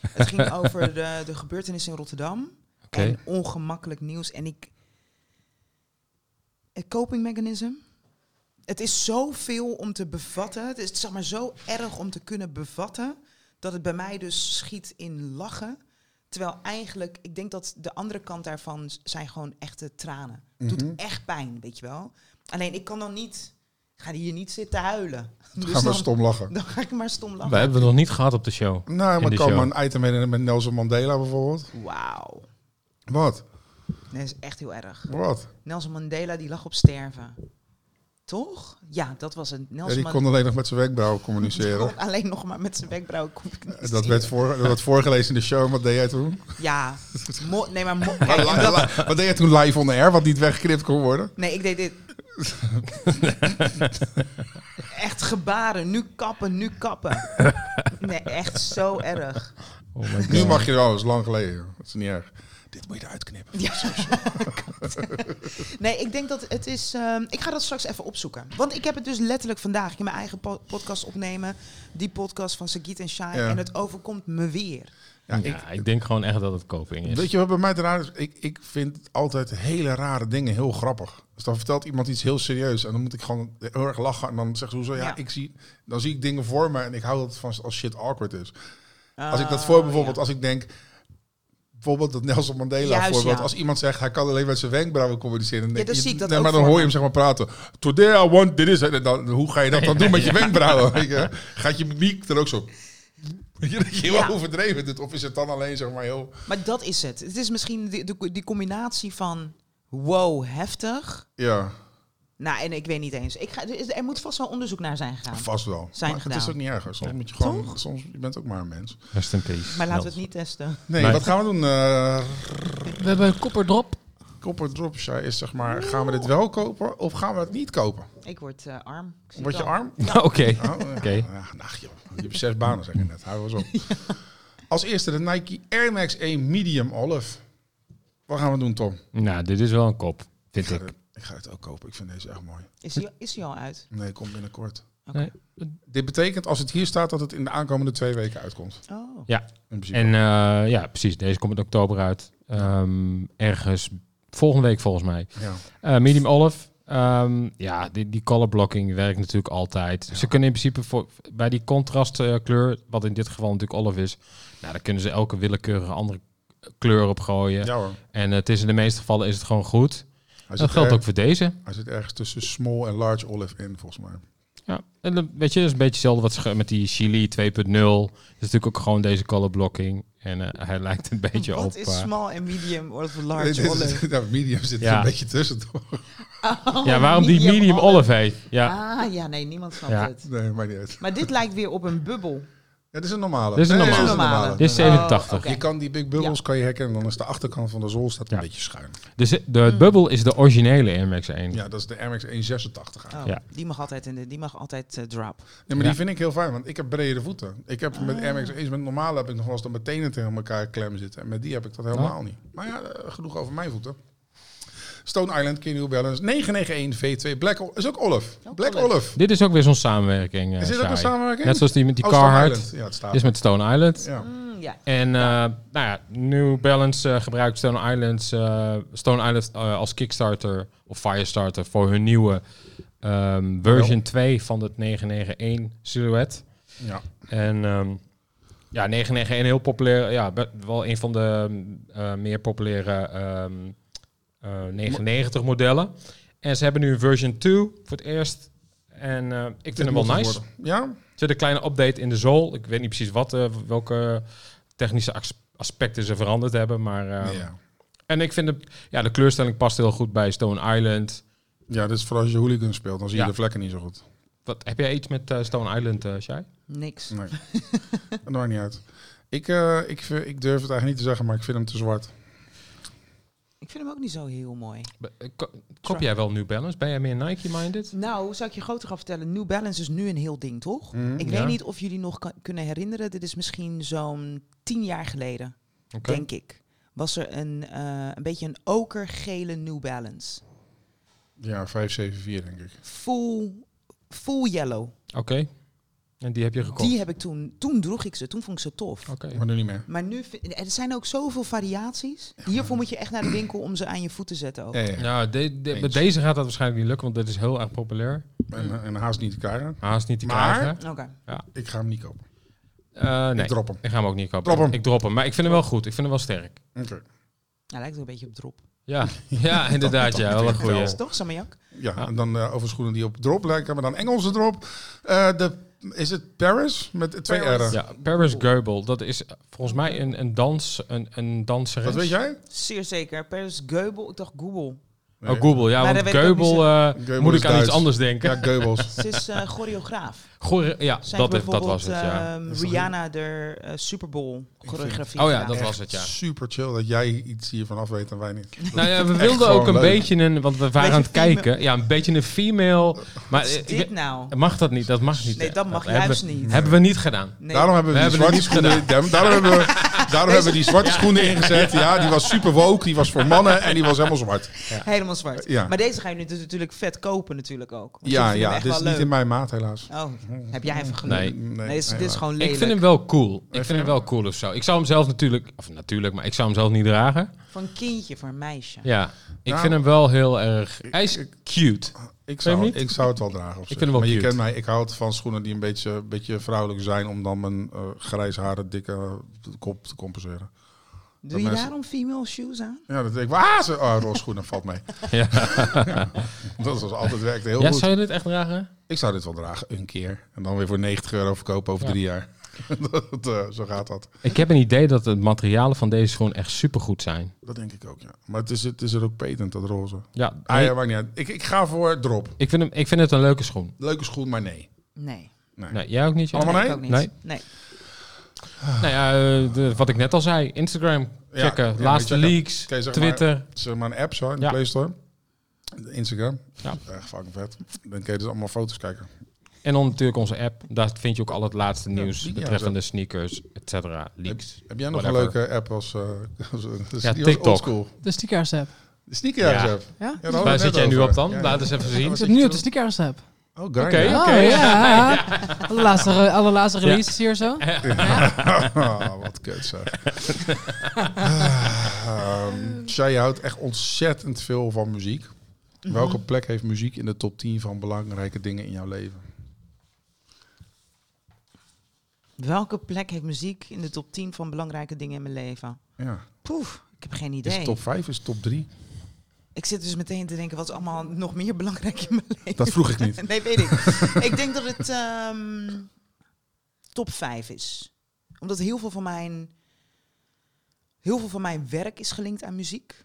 C: het ging over de, de gebeurtenis in Rotterdam.
B: Oké.
C: En ongemakkelijk nieuws. En ik... Een coping mechanism. Het is zoveel om te bevatten. Het is zeg maar zo erg om te kunnen bevatten. Dat het bij mij dus schiet in lachen. Terwijl eigenlijk, ik denk dat de andere kant daarvan s- zijn gewoon echte tranen. Het
A: Mhm.
C: doet echt pijn, weet je wel. Alleen ik kan dan niet, ik ga hier niet zitten huilen. Dus
A: Gaan we
C: dan-
A: stom lachen.
C: dan ga ik maar stom
B: We
C: lachen.
B: hebben het nog niet gehad op de show.
A: Nou, maar
B: de
A: kan
B: show.
A: maar een item in eh, met Nelson Mandela bijvoorbeeld.
C: Wauw.
A: Wat?
C: Dat is echt heel erg.
A: Wat?
C: Nelson Mandela die lag op sterven. Toch? Ja, dat was het.
A: Ja,
C: Nelson
A: die kon
C: Mandela
A: alleen nog met zijn wenkbrauwen
C: kon (laughs)
A: communiceren.
C: alleen nog maar met zijn wenkbrauwen communiceren.
A: Dat werd, voor, dat werd voorgelezen in de show. Wat deed jij
C: (laughs)
A: toen?
C: Ja. Mo- nee, maar...
A: (laughs)
C: mo- kijk, en dat-
A: Wat deed jij toen live on air, wat niet weggeknipt kon worden?
C: nee, ik
A: (laughs)
C: deed dit. echt gebaren. Nu kappen, nu kappen. Nee, echt zo erg.
B: Oh my
A: Nu
B: God.
A: mag je wel, dat is lang geleden. Dat is niet erg. Dit moet je eruit knippen.
C: Ja. (laughs) nee, ik denk dat het is. ehm, ik ga dat straks even opzoeken. Want ik heb het dus letterlijk vandaag in mijn eigen po- podcast opnemen. Die podcast van Sagit en Shai.
A: Ja.
C: En het overkomt me weer.
A: Ja, ik-
B: Ja, ik denk gewoon echt dat het coping is.
A: Weet je wat bij mij het raar is? Ik, ik vind altijd hele rare dingen heel grappig. Dus dan vertelt iemand iets heel serieus en dan moet ik gewoon heel erg lachen. En dan zegt ze hoezo, ja,
C: Ja.
A: ik zie, dan zie ik dingen voor me en ik hou dat van als shit awkward is. Als
C: Ah,
A: ik dat voor bijvoorbeeld, als ik denk, bijvoorbeeld dat Nelson Mandela
C: Juist,
A: voorbeeld.
C: ja.
A: Als iemand zegt, hij kan alleen met zijn wenkbrauwen communiceren. dan
C: Ja,
A: denk
C: dan
A: je-
C: zie ik dat
A: nee,
C: ook
A: maar dan
C: voor
A: hoor je hem
C: me.
A: zeg maar praten. Today I want dit is. En dan, hoe ga je
C: (laughs)
A: dat dan doen met je wenkbrauwen? weet je? Gaat je mimiek er ook zo... (laughs) Weet je, dat je heel
C: Ja.
A: overdreven doet. Of is het dan alleen zeg maar heel...
C: Maar dat is het. Het is misschien die, die, die combinatie van wow, heftig.
A: Ja,
C: Nou, en ik weet niet eens. Ik ga, er, is- er moet vast wel onderzoek naar zijn gegaan.
A: vast wel.
C: Zijn
A: maar het
C: gedaan.
A: is ook niet erg. hoor. Soms moet je gewoon... Soms, je bent ook maar een mens.
B: Rest in peace.
C: Maar laten we
B: Nels.
C: het niet testen.
A: Nee,
B: Nee.
A: wat gaan we doen? Eh
B: We hebben een kopperdrop.
A: Copper Drop Shy is zeg maar... Gaan we dit wel kopen of gaan we het niet kopen?
C: Ik word eh, arm. Ik zie
A: Word
C: het
A: je
C: al.
A: arm?
B: Nou. (laughs) Oké.
A: Oh,
C: (laughs)
A: ja.
B: Oké.
A: Ja, nou, joh. Je hebt zes banen, zeg je net. Hou eens op. Als eerste de Nike Air Max 1 Medium Olive. Wat gaan we doen, Tom?
B: Nou, dit is wel een kop, vind ik.
A: Ik ga het ook kopen. Ik vind deze echt mooi.
C: Is die, is die al uit?
A: Nee, komt binnenkort.
C: Oké.
B: Nee.
A: Dit betekent, als het hier staat, dat het in de aankomende twee weken uitkomt.
C: Oh.
A: In principe.
B: En eh, ja, precies. Deze komt in oktober uit. Ehm, ergens volgende week volgens mij.
A: ja.
B: Eh, medium olive. Ehm, ja, die, die color blocking werkt natuurlijk altijd. Ze kunnen in principe voor, bij die contrastkleur, wat in dit geval natuurlijk olive is, nou, daar kunnen ze elke willekeurige andere kleur op gooien.
A: ja hoor.
B: En het is in de meeste gevallen is het gewoon goed.
A: Hij
B: dat
A: zit, eh,
B: geldt
A: er-
B: ook voor deze.
A: hij zit ergens tussen small en large olive in, volgens mij.
B: Ja, en dan, weet je, dat is een beetje hetzelfde wat ze ge- met die Chili 2.0. Dat is natuurlijk ook gewoon deze color blocking. En eh, hij lijkt een beetje
C: Wat
B: op...
C: is
B: eh,
C: small en medium of
A: Nee, (laughs) dit
C: large
A: is-
C: olive?
A: nou, medium zit er
B: Ja.
A: een beetje tussen, toch?
C: Oh,
B: ja, waarom die medium olive heet. Ja,
C: Ah, ja, nee, niemand snapt
B: Ja.
C: het.
A: Nee, maar niet uit.
C: Maar dit lijkt weer op een bubbel.
A: Ja, dit is een normale.
B: Dit is een
A: Nee,
B: normale. dit is
C: Oh,
B: 87.
C: oké.
A: Je kan die big bubbles kan je hacken en dan is de achterkant van de zool staat een
B: Ja.
A: beetje schuin.
B: Dus de, de bubbel is de originele Air Max 1.
A: Ja, dat is de Air Max 186 aan.
C: Oh,
B: Ja.
C: Die mag altijd, in de, die mag altijd eh, drop.
A: Ja, maar die
B: Ja.
A: vind ik heel fijn, want ik heb brede voeten. Ik heb met Air Max 1, met normale heb ik nog wel eens dat mijn tenen tegen elkaar klem zitten. En met die heb ik dat helemaal
B: Oh.
A: niet. Maar ja, eh, genoeg over mijn voeten. Stone Island, Kenny Balance, 991 V2, Black Olive. Is ook Olive.
C: Ook
A: Black
C: Olive.
A: Olive.
B: Dit is ook weer zo'n samenwerking. eh,
A: Is dit ook
B: Shai.
A: een samenwerking?
B: Net zoals die met die
A: Oh, Stone Island.
B: Carhartt.
A: Ja, het staat.
B: Is met Stone Island.
A: ja.
C: Mm, ja.
B: En eh, nou ja, New Balance eh, gebruikt Stone Island, eh, Stone Island eh, als Kickstarter of Firestarter voor hun nieuwe ehm, version 2 van het 991 silhouet.
A: ja.
B: En ehm, ja, 991 heel populair. Ja, be- wel een van de ehm, eh, meer populaire ehm, eh, 99 modellen. En ze hebben nu een version 2 voor het eerst. En eh, ik
A: Dit
B: vind hem
A: moet
B: wel
A: het
B: nice.
A: worden. Ja?
B: Er zit een kleine update in de zool. Ik weet niet precies wat, eh, welke technische as- aspecten ze veranderd hebben. Maar, eh,
A: ja.
B: En ik vind het, ja, de kleurstelling past heel goed bij Stone Island.
A: Ja, dit is vooral als je hooligan speelt, dan zie je
B: Ja.
A: de vlekken niet zo goed.
B: Wat, heb jij iets met eh, Stone Island, eh Shai? (laughs)
C: Niks.
A: Nee. dat maakt niet uit. Ik, eh, ik, vind- ik durf het eigenlijk niet te zeggen, maar ik vind hem te zwart.
C: Ik vind hem ook niet zo heel mooi.
B: Be- eh, ko- Koop jij wel New Balance? Ben jij meer Nike-minded?
C: Nou, zou ik je groter gaan vertellen. New Balance is nu een heel ding, toch?
A: Mhm.
C: Ik
B: Mm, Ja.
C: weet niet of jullie nog kan- kunnen herinneren. Dit is misschien zo'n tien jaar geleden,
B: Oké.
C: denk ik. Was er een, eh, een beetje een okergele New Balance.
A: Ja, 574 denk ik.
C: Full, full yellow.
B: Oké. En die heb je gekocht?
C: Die heb ik toen, toen droeg ik ze, toen vond ik ze tof.
B: Oké.
A: Maar nu niet meer.
C: Maar nu, vind- er zijn ook zoveel variaties. Hiervoor moet je echt naar de winkel om ze aan je voet te zetten ook.
A: Ja, ja.
B: Ja, de, de-
A: Eens.
B: met deze gaat dat waarschijnlijk niet lukken, want dit is heel erg populair.
A: En, en haast niet te krijgen.
B: Haast niet te
A: Maar-
B: krijgen.
C: Oké.
A: Ik ga hem niet kopen.
B: Eh, nee,
A: Ik drop hem.
B: ik ga hem ook niet kopen.
A: Drop hem.
B: Ik drop hem, maar ik vind hem wel goed. Ik vind hem wel sterk.
A: Oké.
C: Hij lijkt wel een beetje op drop.
B: Ja,
A: (laughs)
B: ja inderdaad. Ja, wel een
A: Ja.
C: Is
B: goeie.
C: het toch, Samajak?
A: Ja, en dan eh, over schoenen die op drop lijken, maar dan Engelse drop. Eh, de, is het Paris? Met twee R'en.
B: Ja, Paris Goebel, dat is volgens mij een, een, dans, een, een danseres.
A: Wat weet jij?
C: Zeer zeker. Paris Geubel, ik dacht Google.
A: Nee.
B: Oh, Goebel, ja,
C: Maar
B: want
C: dat weet ik ook niet
B: Goebel, eh,
A: Goebel
B: moet
A: is
B: ik aan
A: Duits.
B: iets anders denken.
A: Ja, Goebbels.
C: Ze
B: (laughs)
C: is eh, choreograaf.
B: Goor- ja
C: Zij
B: dat,
C: heeft
B: dat was
C: bijvoorbeeld
B: het, ja.
C: ehm,
A: Dat is toch
C: Rihanna de eh, Super Bowl choreografie.
B: Oh ja,
C: gedaan.
B: dat was het, ja.
A: Super chill dat jij iets hiervan af weet en wij
B: (laughs)
A: niet.
B: Nou ja, we
A: Echt
B: wilden
A: gewoon
B: ook een
A: leuk.
B: beetje een, want we waren aan het
C: Beetje
B: kijken, ja, een beetje een female, maar
C: Wat is
B: ik-
C: dit nou?
B: mag dat niet, dat mag niet.
C: Nee,
B: hè?
C: dat mag
B: hebben
C: juist
B: we-
C: niet.
B: Hebben we niet gedaan.
C: Nee.
A: Daarom hebben we,
B: We
A: die
B: hebben
A: zwarte
B: het niet
A: schoenen. Dem- daarom hebben
B: (laughs)
A: we, daarom hebben we die zwarte schoenen ingezet. Ja, die was super woke, die was voor mannen en die was helemaal zwart.
C: (laughs) Helemaal zwart.
A: Ja.
C: Maar deze ga je nu dus natuurlijk vet kopen natuurlijk ook. Want je
A: Ja,
C: vindt hem
A: ja,
C: echt
A: dit is
C: wel
A: niet
C: leuk.
A: in mijn maat helaas.
C: Oh, heb jij even geluk?
B: dus Nee.
C: Nee, dit, is, dit is
A: helaas.
C: gewoon lelijk.
B: Ik vind hem wel cool. Ik vind hem wel cool of zo. Ik zou hem zelf natuurlijk, of natuurlijk, maar ik zou hem zelf niet dragen.
C: Van kindje, van meisje.
B: Ja, ik
A: Nou,
B: vind hem wel heel erg. Hij is cute.
A: Ik
B: Vind je
A: zou,
B: hem niet?
A: ik zou het wel dragen. Op zich.
B: vind hem wel
A: maar je
B: cute.
A: kent mij, ik houd van schoenen die een beetje, een beetje vrouwelijk zijn om dan mijn eh grijsharen dikke eh, kop te compenseren.
C: Doe je
A: mensen-
C: daarom female shoes aan?
A: Ja, dat denk ik. Ah, ze, oh, roze schoenen valt mee.
B: Ja.
A: (laughs) Dat was altijd werkt heel
B: Ja,
A: goed.
B: zou je dit echt dragen?
A: Ik zou dit wel dragen, een keer. En dan weer voor 90 euro verkopen over
B: Ja.
A: drie jaar. (laughs) dat, eh, zo gaat dat.
B: Ik heb een idee dat de materialen van deze schoen echt supergoed zijn.
A: Dat denk ik ook, ja. Maar het is, het is er ook patent, dat roze.
B: Ja,
A: Ah, ja, maakt niet uit. Ik, ik ga voor drop.
B: ik, vind hem, ik vind het een leuke schoen.
A: Leuke schoen, maar nee.
C: Nee.
B: Nee, jij ook niet? Jan?
A: Allemaal
C: nee?
A: nee?
C: Ik ook niet.
B: Nee.
C: nee.
B: Nou ja, eh, de- wat ik net al zei. Instagram
A: Ja,
B: checken.
A: ja,
B: laatste
A: checken.
B: leaks.
A: Oké, zeg maar.
B: Twitter.
A: Zeg eh, maar een app zo, in de
B: Ja.
A: Play Store. Instagram.
B: Ja.
A: Echt fucking vet. Dan kun je dus allemaal foto's kijken.
B: En dan natuurlijk onze app. Daar vind je ook al het laatste nieuws
A: die- ja,
B: betreffende sneakers, et cetera. Leaks.
A: Heb jij nog een
B: Whatever.
A: leuke app als... eh als als-
B: Ja,
A: die was
B: TikTok.
A: oldschool.
D: De stickers app.
A: De sneakers
B: Ja.
A: app.
D: Ja?
A: daar hadden we
B: Waar
A: het
B: zit
A: net
B: jij nu
A: over.
B: op dan?
A: Ja,
B: Laat
A: ja.
B: eens even
A: Ja, waar
B: zien.
D: Ik
A: zit
D: zit
A: je
D: nu
A: op?
D: op de stickers app.
A: Oh, Grindr.
B: Oké. Ja,
D: Oh ja. De laatste, re- allerlaatste releases hier zo.
A: (laughs) Ah, wat kut zeg. Ehm, Shai, je houdt echt ontzettend veel van muziek. Welke plek heeft muziek in de top 10 van belangrijke dingen in jouw leven?
C: Welke plek heeft muziek in de top 10 van belangrijke dingen in mijn leven?
A: Ja.
C: Poef, ik heb geen
A: Is
C: idee.
A: het top 5? Is het top
C: (laughs)
A: 3?
C: Ik zit dus meteen te denken, wat is allemaal nog meer belangrijk in mijn leven?
A: Dat vroeg ik niet.
C: Nee, weet
A: (laughs)
C: ik. ik denk dat het ehm, top 5 is. Omdat heel veel van mijn, heel veel van mijn werk is gelinkt aan muziek.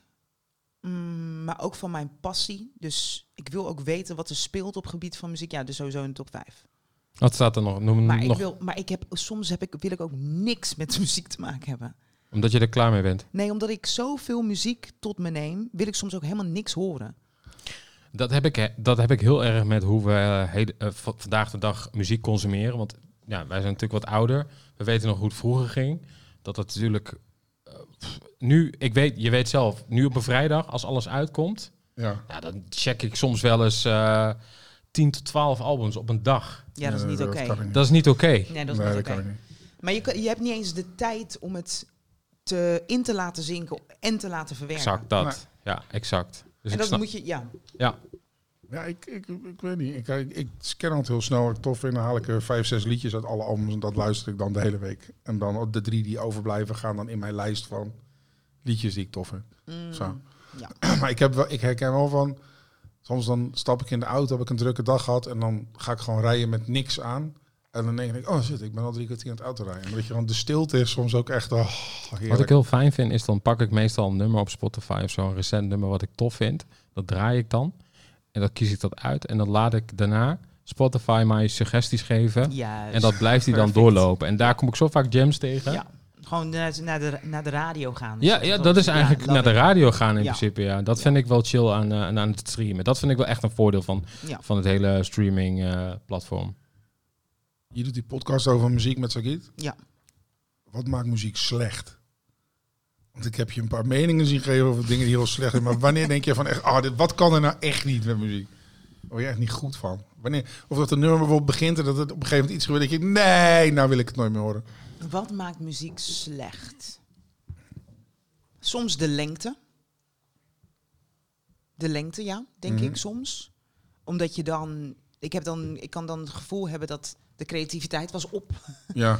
C: Mm, maar ook van mijn passie. Dus ik wil ook weten wat er speelt op gebied van muziek. Ja, dus sowieso een top 5.
B: (laughs) Wat staat er nog? Noem
C: Maar, ik
B: nog.
C: wil, maar ik heb, soms heb ik, wil ik ook niks met (laughs) muziek te maken hebben.
B: Omdat je er klaar mee bent.
C: Nee, omdat ik zoveel muziek tot me neem, wil ik soms ook helemaal niks horen.
B: Dat heb ik, he- dat heb ik heel erg met hoe we eh, heden- eh, v- vandaag de dag muziek consumeren. Want ja, wij zijn natuurlijk wat ouder. We weten nog hoe het vroeger ging. Dat dat natuurlijk. eh, pff, nu, ik weet, je weet zelf, nu op een vrijdag, als alles uitkomt,
A: Ja.
B: ja, Nou, dan check ik soms wel eens eh 10 tot 12 albums op een dag.
C: Ja, dat is
A: Nee,
C: niet oké.
A: kan ik niet.
B: Dat is niet oké.
C: Nee, dat is
A: Nee,
C: niet
A: dat
C: oké.
A: kan ik niet.
C: Maar je, kan- je hebt niet eens de tijd om het te, in te laten zinken en te laten verwerken.
B: Exact dat.
A: Maar-
B: Ja, exact. Dus
C: en
B: ik
C: dat
B: snap-
C: moet je, ja.
B: ja.
A: Ja, ik, ik, ik weet niet. Ik, ik, ik scan het heel snel. Ik tof vind, dan haal ik er vijf, zes liedjes uit alle albums. En dat luister ik dan de hele week. En dan de drie die overblijven gaan dan in mijn lijst van liedjes die ik tof vind.
C: Mm,
A: Zo.
C: ja.
A: (clears throat) Maar ik, heb wel, ik herken wel van... Soms dan stap ik in de auto, heb ik een drukke dag gehad... en dan ga ik gewoon rijden met niks aan. En dan denk ik, oh shit, ik ben al drie kwartier aan het auto rijden. Omdat je gewoon de stilte is soms ook echt... Oh,
B: Wat ik
A: heerlijk.
B: heel fijn vind, is dan pak ik meestal een nummer op Spotify of zo, een recent nummer wat ik tof vind. Dat draai ik dan. En dan kies ik dat uit. En dan laat ik daarna Spotify mij suggesties geven.
C: Juist.
B: En dat blijft hij dan
C: Perfect.
B: doorlopen. En daar kom ik zo vaak jams tegen.
C: ja. Gewoon naar, naar, de, naar de radio gaan.
B: Ja, ja, dat is
C: Ja,
B: eigenlijk
C: love
B: naar de
C: it.
B: radio gaan in
C: Ja.
B: principe. Ja. Dat
C: Ja.
B: vind ik wel chill aan, eh, aan- aan het streamen. Dat vind ik wel echt een voordeel van,
C: Ja.
B: van het hele streaming eh, platform.
A: Je doet die podcast over muziek met Sagit.
C: Ja.
A: Wat maakt muziek slecht? Want ik heb je een paar
C: (laughs)
A: meningen zien geven over dingen die heel slecht zijn. Maar wanneer denk je van echt, ah, dit, wat kan er nou echt niet met muziek? word je echt niet goed van. Wanneer, of dat een nummer bijvoorbeeld begint en dat het op een gegeven moment iets gebeurt. Dat je, nee, nou wil ik het nooit meer horen.
C: Wat maakt muziek slecht? Soms de lengte. De lengte, ja, denk
A: Mhm.
C: ik soms. Omdat je dan ik, heb dan... ik kan dan het gevoel hebben dat de creativiteit was op.
A: Ja,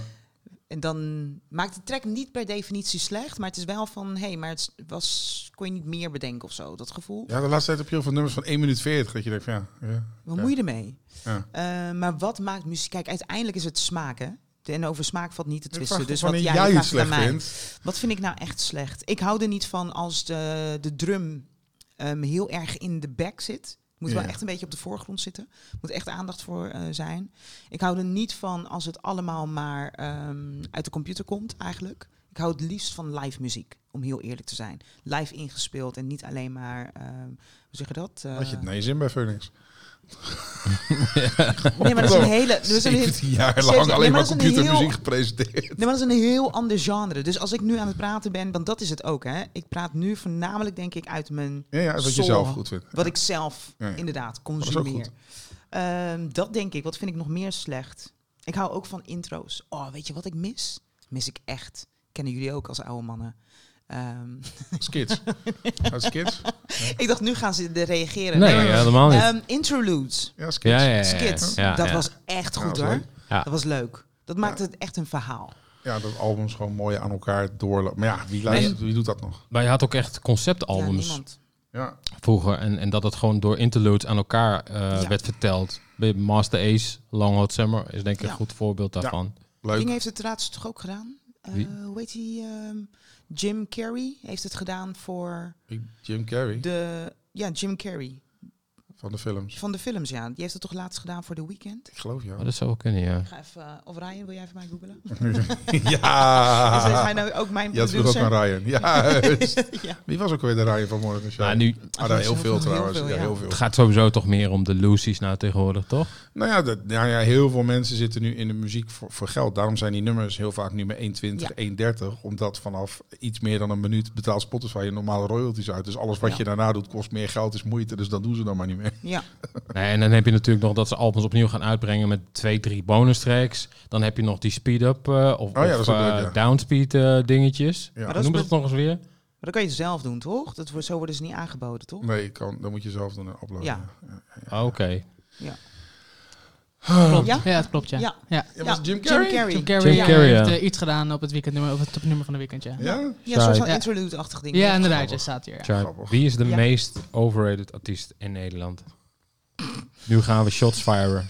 C: En dan maakt de track niet per definitie slecht, maar het is wel van, hé, hey, maar het was, kon je niet meer bedenken of zo, dat gevoel.
A: ja de laatste tijd heb je heel veel nummers van 1 minuut 40. Dat je denkt, van, ja, ja.
C: Wat moet je ermee?
A: Ja.
C: Eh, maar wat maakt muziek? Kijk, uiteindelijk is het smaak, hè? En over smaak valt niet te
A: Ik
C: twisten.
A: vraag
C: Dus wat
A: wanneer
C: jij,
A: jij
C: vraagt
A: het
C: het
A: slecht
C: aan mij.
A: vindt.
C: Wat vind ik nou echt slecht? Ik hou er niet van als de, de drum ehm, heel erg in de back zit. Moet
A: Ja.
C: wel echt een beetje op de voorgrond zitten. Moet echt aandacht voor eh, zijn. Ik hou er niet van als het allemaal maar ehm, uit de computer komt, eigenlijk. Ik hou het liefst van live muziek, om heel eerlijk te zijn. Live ingespeeld en niet alleen maar, ehm, hoe zeg je
A: Had
C: dat?
A: je
C: (laughs) Eh,
A: het nee zin bij Phoenix?
C: nee, maar dat is een hele...
A: (laughs)
C: Dat is een heel-
A: 17
C: (laughs)
A: jaar lang
C: Zeventien- Ja,
A: alleen maar
C: maar dat is een heel-
A: computermuziek
C: (laughs)
A: gepresenteerd.
C: Nee, maar dat is een heel ander genre. Dus als ik nu aan het praten ben, want dat is het ook, hè. Ik praat nu voornamelijk, denk ik, uit mijn...
A: Ja, ja, wat je
C: Soul.
A: zelf goed vindt.
C: Wat ik zelf
A: Ja, ja.
C: inderdaad
B: Oh,
A: is ook
C: consumeer.
A: goed.
C: Ehm, dat denk ik. Wat vind ik nog meer slecht? Ik hou ook van intro's. Oh, weet je wat ik mis? Mis ik echt. Kennen jullie ook als oude mannen. Ehm, (laughs)
A: Als (laughs) kids. Als kids.
C: ik dacht, nu gaan ze er reageren.
B: Nee, helemaal niet.
C: Ehm, interludes.
A: Ja, als kids.
B: ja, ja, ja, ja.
C: Skits.
B: Ja,
C: dat
B: ja.
C: was echt
A: Ja,
C: goed
A: dat was
C: hoor.
A: leuk.
B: Ja.
C: Dat was leuk. Dat maakt het echt een verhaal.
A: Ja, dat albums gewoon mooi aan elkaar doorlopen. Maar ja, wie, luistert, wie doet dat nog?
B: Maar je had ook echt
C: Ja,
B: conceptalbums
C: niemand.
A: Ja,
B: vroeger. En, en dat het gewoon door interludes aan elkaar eh,
C: Ja.
B: werd verteld. Bij Master Ace, Long Hot Summer is denk ik
C: Ja.
B: een goed voorbeeld daarvan.
A: leuk.
C: Ding heeft het laatst toch ook gedaan? Eh,
B: Wie?
C: hoe heet die? ehm, Jim Carrey heeft het gedaan voor
A: Jim Carrey
C: de... Ja, Jim Carrey.
A: van de films.
C: Van de films, ja. Die heeft het toch laatst gedaan voor The Weeknd?
A: Ik geloof
B: Maar
C: Oh,
A: jou.
B: dat zou wel kunnen, ja.
C: Ik ga even, eh, of Ryan, wil jij even mij googelen? Is dit
A: (laughs) ja!
C: mij nou ook mijn
A: Ah, Ja, dat is ook
C: producer?
A: een Ryan. Juist.
C: (laughs) ja. Nou,
A: Wie was ook alweer de Ryan van Morgen Show?
B: Maar nu,
A: Ah, daar heel veel
C: Heel
A: trouwens.
C: veel,
A: ja,
C: ja.
A: heel veel.
B: het gaat sowieso toch meer om de Lucy's nou tegenwoordig, toch?
A: Nou ja, dat, nou ja, heel veel mensen zitten nu in de muziek voor, voor geld. Daarom zijn die nummers heel vaak nu met 1,20,
C: Ja.
A: 1,30. Omdat vanaf iets meer dan een minuut betaalt Spotify je normale royalties uit. Dus alles wat
C: Ja.
A: je daarna doet kost meer geld, is moeite. Dus dat doen ze dan maar niet meer.
C: Ja.
B: Nee, en dan heb je natuurlijk nog dat ze albums opnieuw gaan uitbrengen met twee, drie bonus tracks. Dan heb je nog die speed-up eh, of,
A: Oh ja, dat
B: of
A: is ook
B: eh,
A: leuk, ja.
B: downspeed eh, dingetjes.
A: Ja.
C: Maar
B: Hoe
C: dat is
B: noemen
C: met-
B: ze dat nog eens weer?
C: Maar dat kan je zelf doen, toch? Dat, wordt- zo worden ze niet aangeboden, toch?
A: (laughs) Nee, kan, dat moet je zelf doen en uploaden.
C: Ja.
B: Ah, Oké.
D: Klopt.
C: Ja?
D: Ja? het klopt, ja.
C: Ja.
D: ja.
A: Ja, was het Jim
C: Jim
A: Carrey?
C: Carrey.
D: Jim
C: Ja,
D: Carrey,
B: Jim
D: ja,
B: Carrey,
D: heeft
B: ja.
D: eh, iets gedaan op het weekendnummer, of het topnummer van de weekend, ja.
A: Ja?
C: een soort van
D: Ja.
C: interlude-achtig ding.
D: Ja, inderdaad, ja, staat hier. ja.
B: Char,
A: Grappig.
B: wie is de
C: Ja.
B: meest overrated artiest in Nederland? Nu gaan we shots firen.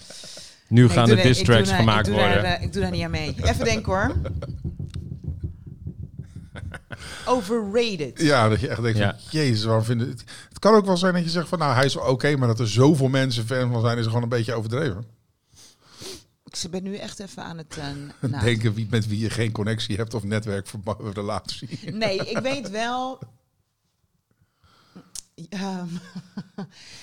B: Nu
C: Nee, ik
B: gaan
C: doe
B: de
C: daar-
B: diss
C: ik doe
B: tracks
C: daar-
B: gemaakt
C: ik doe daar,
B: worden.
C: eh, ik doe daar niet aan mee. Even
A: (laughs)
C: denken hoor. Overrated.
A: Ja, dat je echt denkt,
B: Ja.
A: van, jezus, waarom vinden... Het, het kan ook wel zijn dat je zegt van, nou, hij is wel oké, maar dat er zoveel mensen fan van zijn, is gewoon een beetje overdreven.
C: Ik ben nu echt even aan
A: (laughs)
C: het... eh, na-
A: Denken wie, met wie je geen connectie hebt of netwerkrelatie.
C: Nee, ik weet wel. Ehm, (laughs)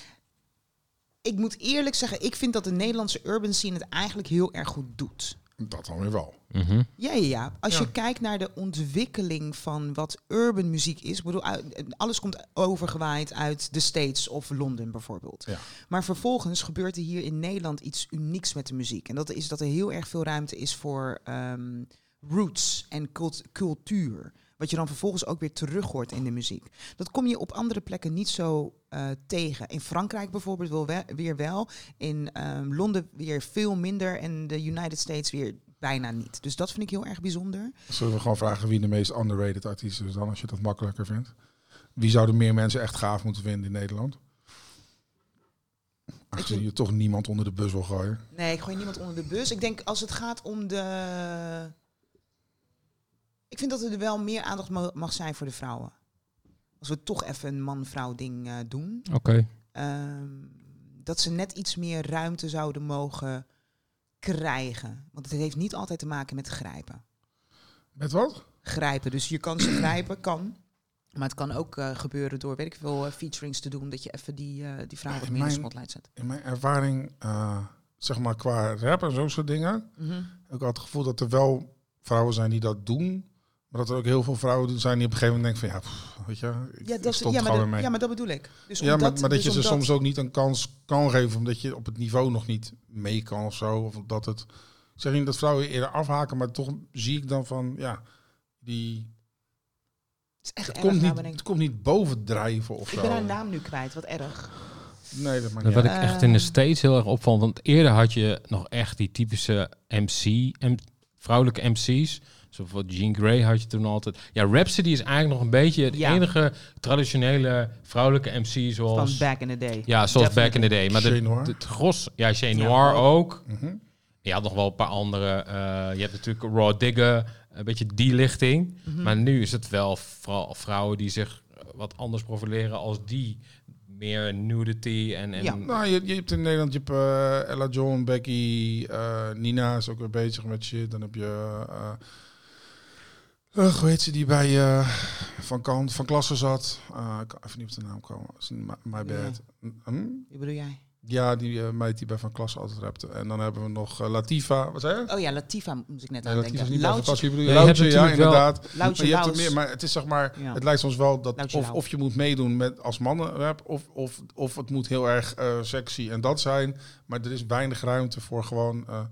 C: ik moet eerlijk zeggen, ik vind dat de Nederlandse urban scene het eigenlijk heel erg goed doet.
A: (laughs) Dat dan weer wel.
B: Mhm.
C: Ja, ja, ja. Als
A: Ja.
C: je kijkt naar de ontwikkeling van wat urban muziek is, ik bedoel, uit- alles komt overgewaaid uit de States of Londen bijvoorbeeld.
A: Ja.
C: Maar vervolgens gebeurt er hier in Nederland iets unieks met de muziek. En dat is dat er heel erg veel ruimte is voor ehm, roots en cult- cultuur. Wat je dan vervolgens ook weer terug hoort in de muziek. Dat kom je op andere plekken niet zo eh, tegen. In Frankrijk bijvoorbeeld wel we- weer wel. In ehm, Londen weer veel minder. En de United States weer bijna niet. Dus dat vind ik heel erg bijzonder.
A: Zullen we gewoon vragen wie de meest underrated artiest is dan, als je dat makkelijker vindt? Wie zouden meer mensen echt gaaf moeten vinden in Nederland? Aangezien je toch niemand onder de bus wil gooien.
C: Nee, ik gooi niemand onder de bus. Ik denk als het gaat om de... Ik vind dat er wel meer aandacht ma- mag zijn voor de vrouwen. Als we toch even een man-vrouw ding eh, doen.
B: Oké.
C: Ehm, dat ze net iets meer ruimte zouden mogen krijgen. Want het heeft niet altijd te maken met grijpen.
A: Met wat?
C: Grijpen, dus je kan ze (clears throat) grijpen, kan. Maar het kan ook eh, gebeuren door, weet ik veel, eh, featurings te doen. Dat je even die, eh, die vrouw
A: Maar
C: wat
A: in
C: meer in de
A: mijn-
C: spotlight zet.
A: In mijn ervaring, eh, zeg maar qua rap en zo'n soort dingen,
C: Mhm.
A: heb ik had het gevoel dat er wel vrouwen zijn die dat doen, Maar dat er ook heel veel vrouwen zijn die op een gegeven moment denken van ja, pff, weet je, ik,
C: Ja,
A: ik
C: dat, is-
A: stond
C: ja, maar
A: gewoon
C: dat,
A: weer mee.
C: ja, maar dat bedoel ik. Dus
A: Ja, maar,
C: omdat-
A: maar dat
C: dus
A: je ze
C: omdat-
A: soms ook niet een kans kan geven, omdat je op het niveau nog niet mee kan of zo. Of dat het. Ik zeg niet dat vrouwen eerder afhaken, maar toch zie ik dan van ja, die.
C: Het, is echt
A: Het
C: erg
A: komt niet,
C: nabedenken.
A: het komt niet bovendrijven of
C: Ik
A: zo.
C: ben haar naam nu kwijt, wat erg.
A: Nee, dat maakt
B: Dat
A: niet
B: wat
A: uit.
B: ik echt in de steeds heel erg opvalt. Want eerder had je nog echt die typische MC, em- vrouwelijke MC's. Zo van Jean Grey had je toen altijd. Ja, Rhapsody is eigenlijk nog een beetje het
C: Ja.
B: enige traditionele vrouwelijke MC
C: Van
B: zoals...
C: back in the day.
B: ja, zoals
C: Definitely.
B: back in the day. Maar
A: Jane
B: de-
A: Noir.
B: de- het gros... Ja, Shane
C: Ja,
B: Noir
C: ook.
B: ook.
A: Mhm.
B: Je had nog wel een paar andere. eh, je hebt natuurlijk Raw Digger, een beetje die lichting.
C: Mhm.
B: Maar nu is het wel vooral vrouwen die zich eh, wat anders profileren als die. Meer nudity en... en
C: Ja.
A: Nou, je, je hebt in Nederland, je hebt eh, Ella John, Becky, eh, Nina is ook weer bezig met shit. Dan heb je, eh eh, hoe heet ze, die bij eh, Van Kant, Van Klassen zat. Eh, ik kan even niet op de naam komen. Is niet My, my bad. Hm?
C: Wie bedoel jij?
A: Ja, die eh, meid die bij Van Klassen altijd rapte. En dan hebben we nog eh, Latifa. Wat zei je?
C: Oh ja, Latifa moest ik net
A: Nee,
C: aan
A: Latifa is
C: denken.
A: niet bij Van
C: Loutje,
A: Klassen. Je
B: Ja,
A: bedoelt
B: je hebt
A: Loutje, ja,
B: natuurlijk wel-
A: inderdaad. Maar
C: Loutje,
A: je hebt er
C: Laus.
A: meer, maar het is zeg maar,
C: Ja.
A: het lijkt soms wel dat
C: Loutje
A: of,
C: lauw.
A: of je moet meedoen met als mannenrap, of, of, of het moet heel erg eh, sexy en dat zijn, maar er is weinig ruimte voor gewoon. eh,
B: Nou,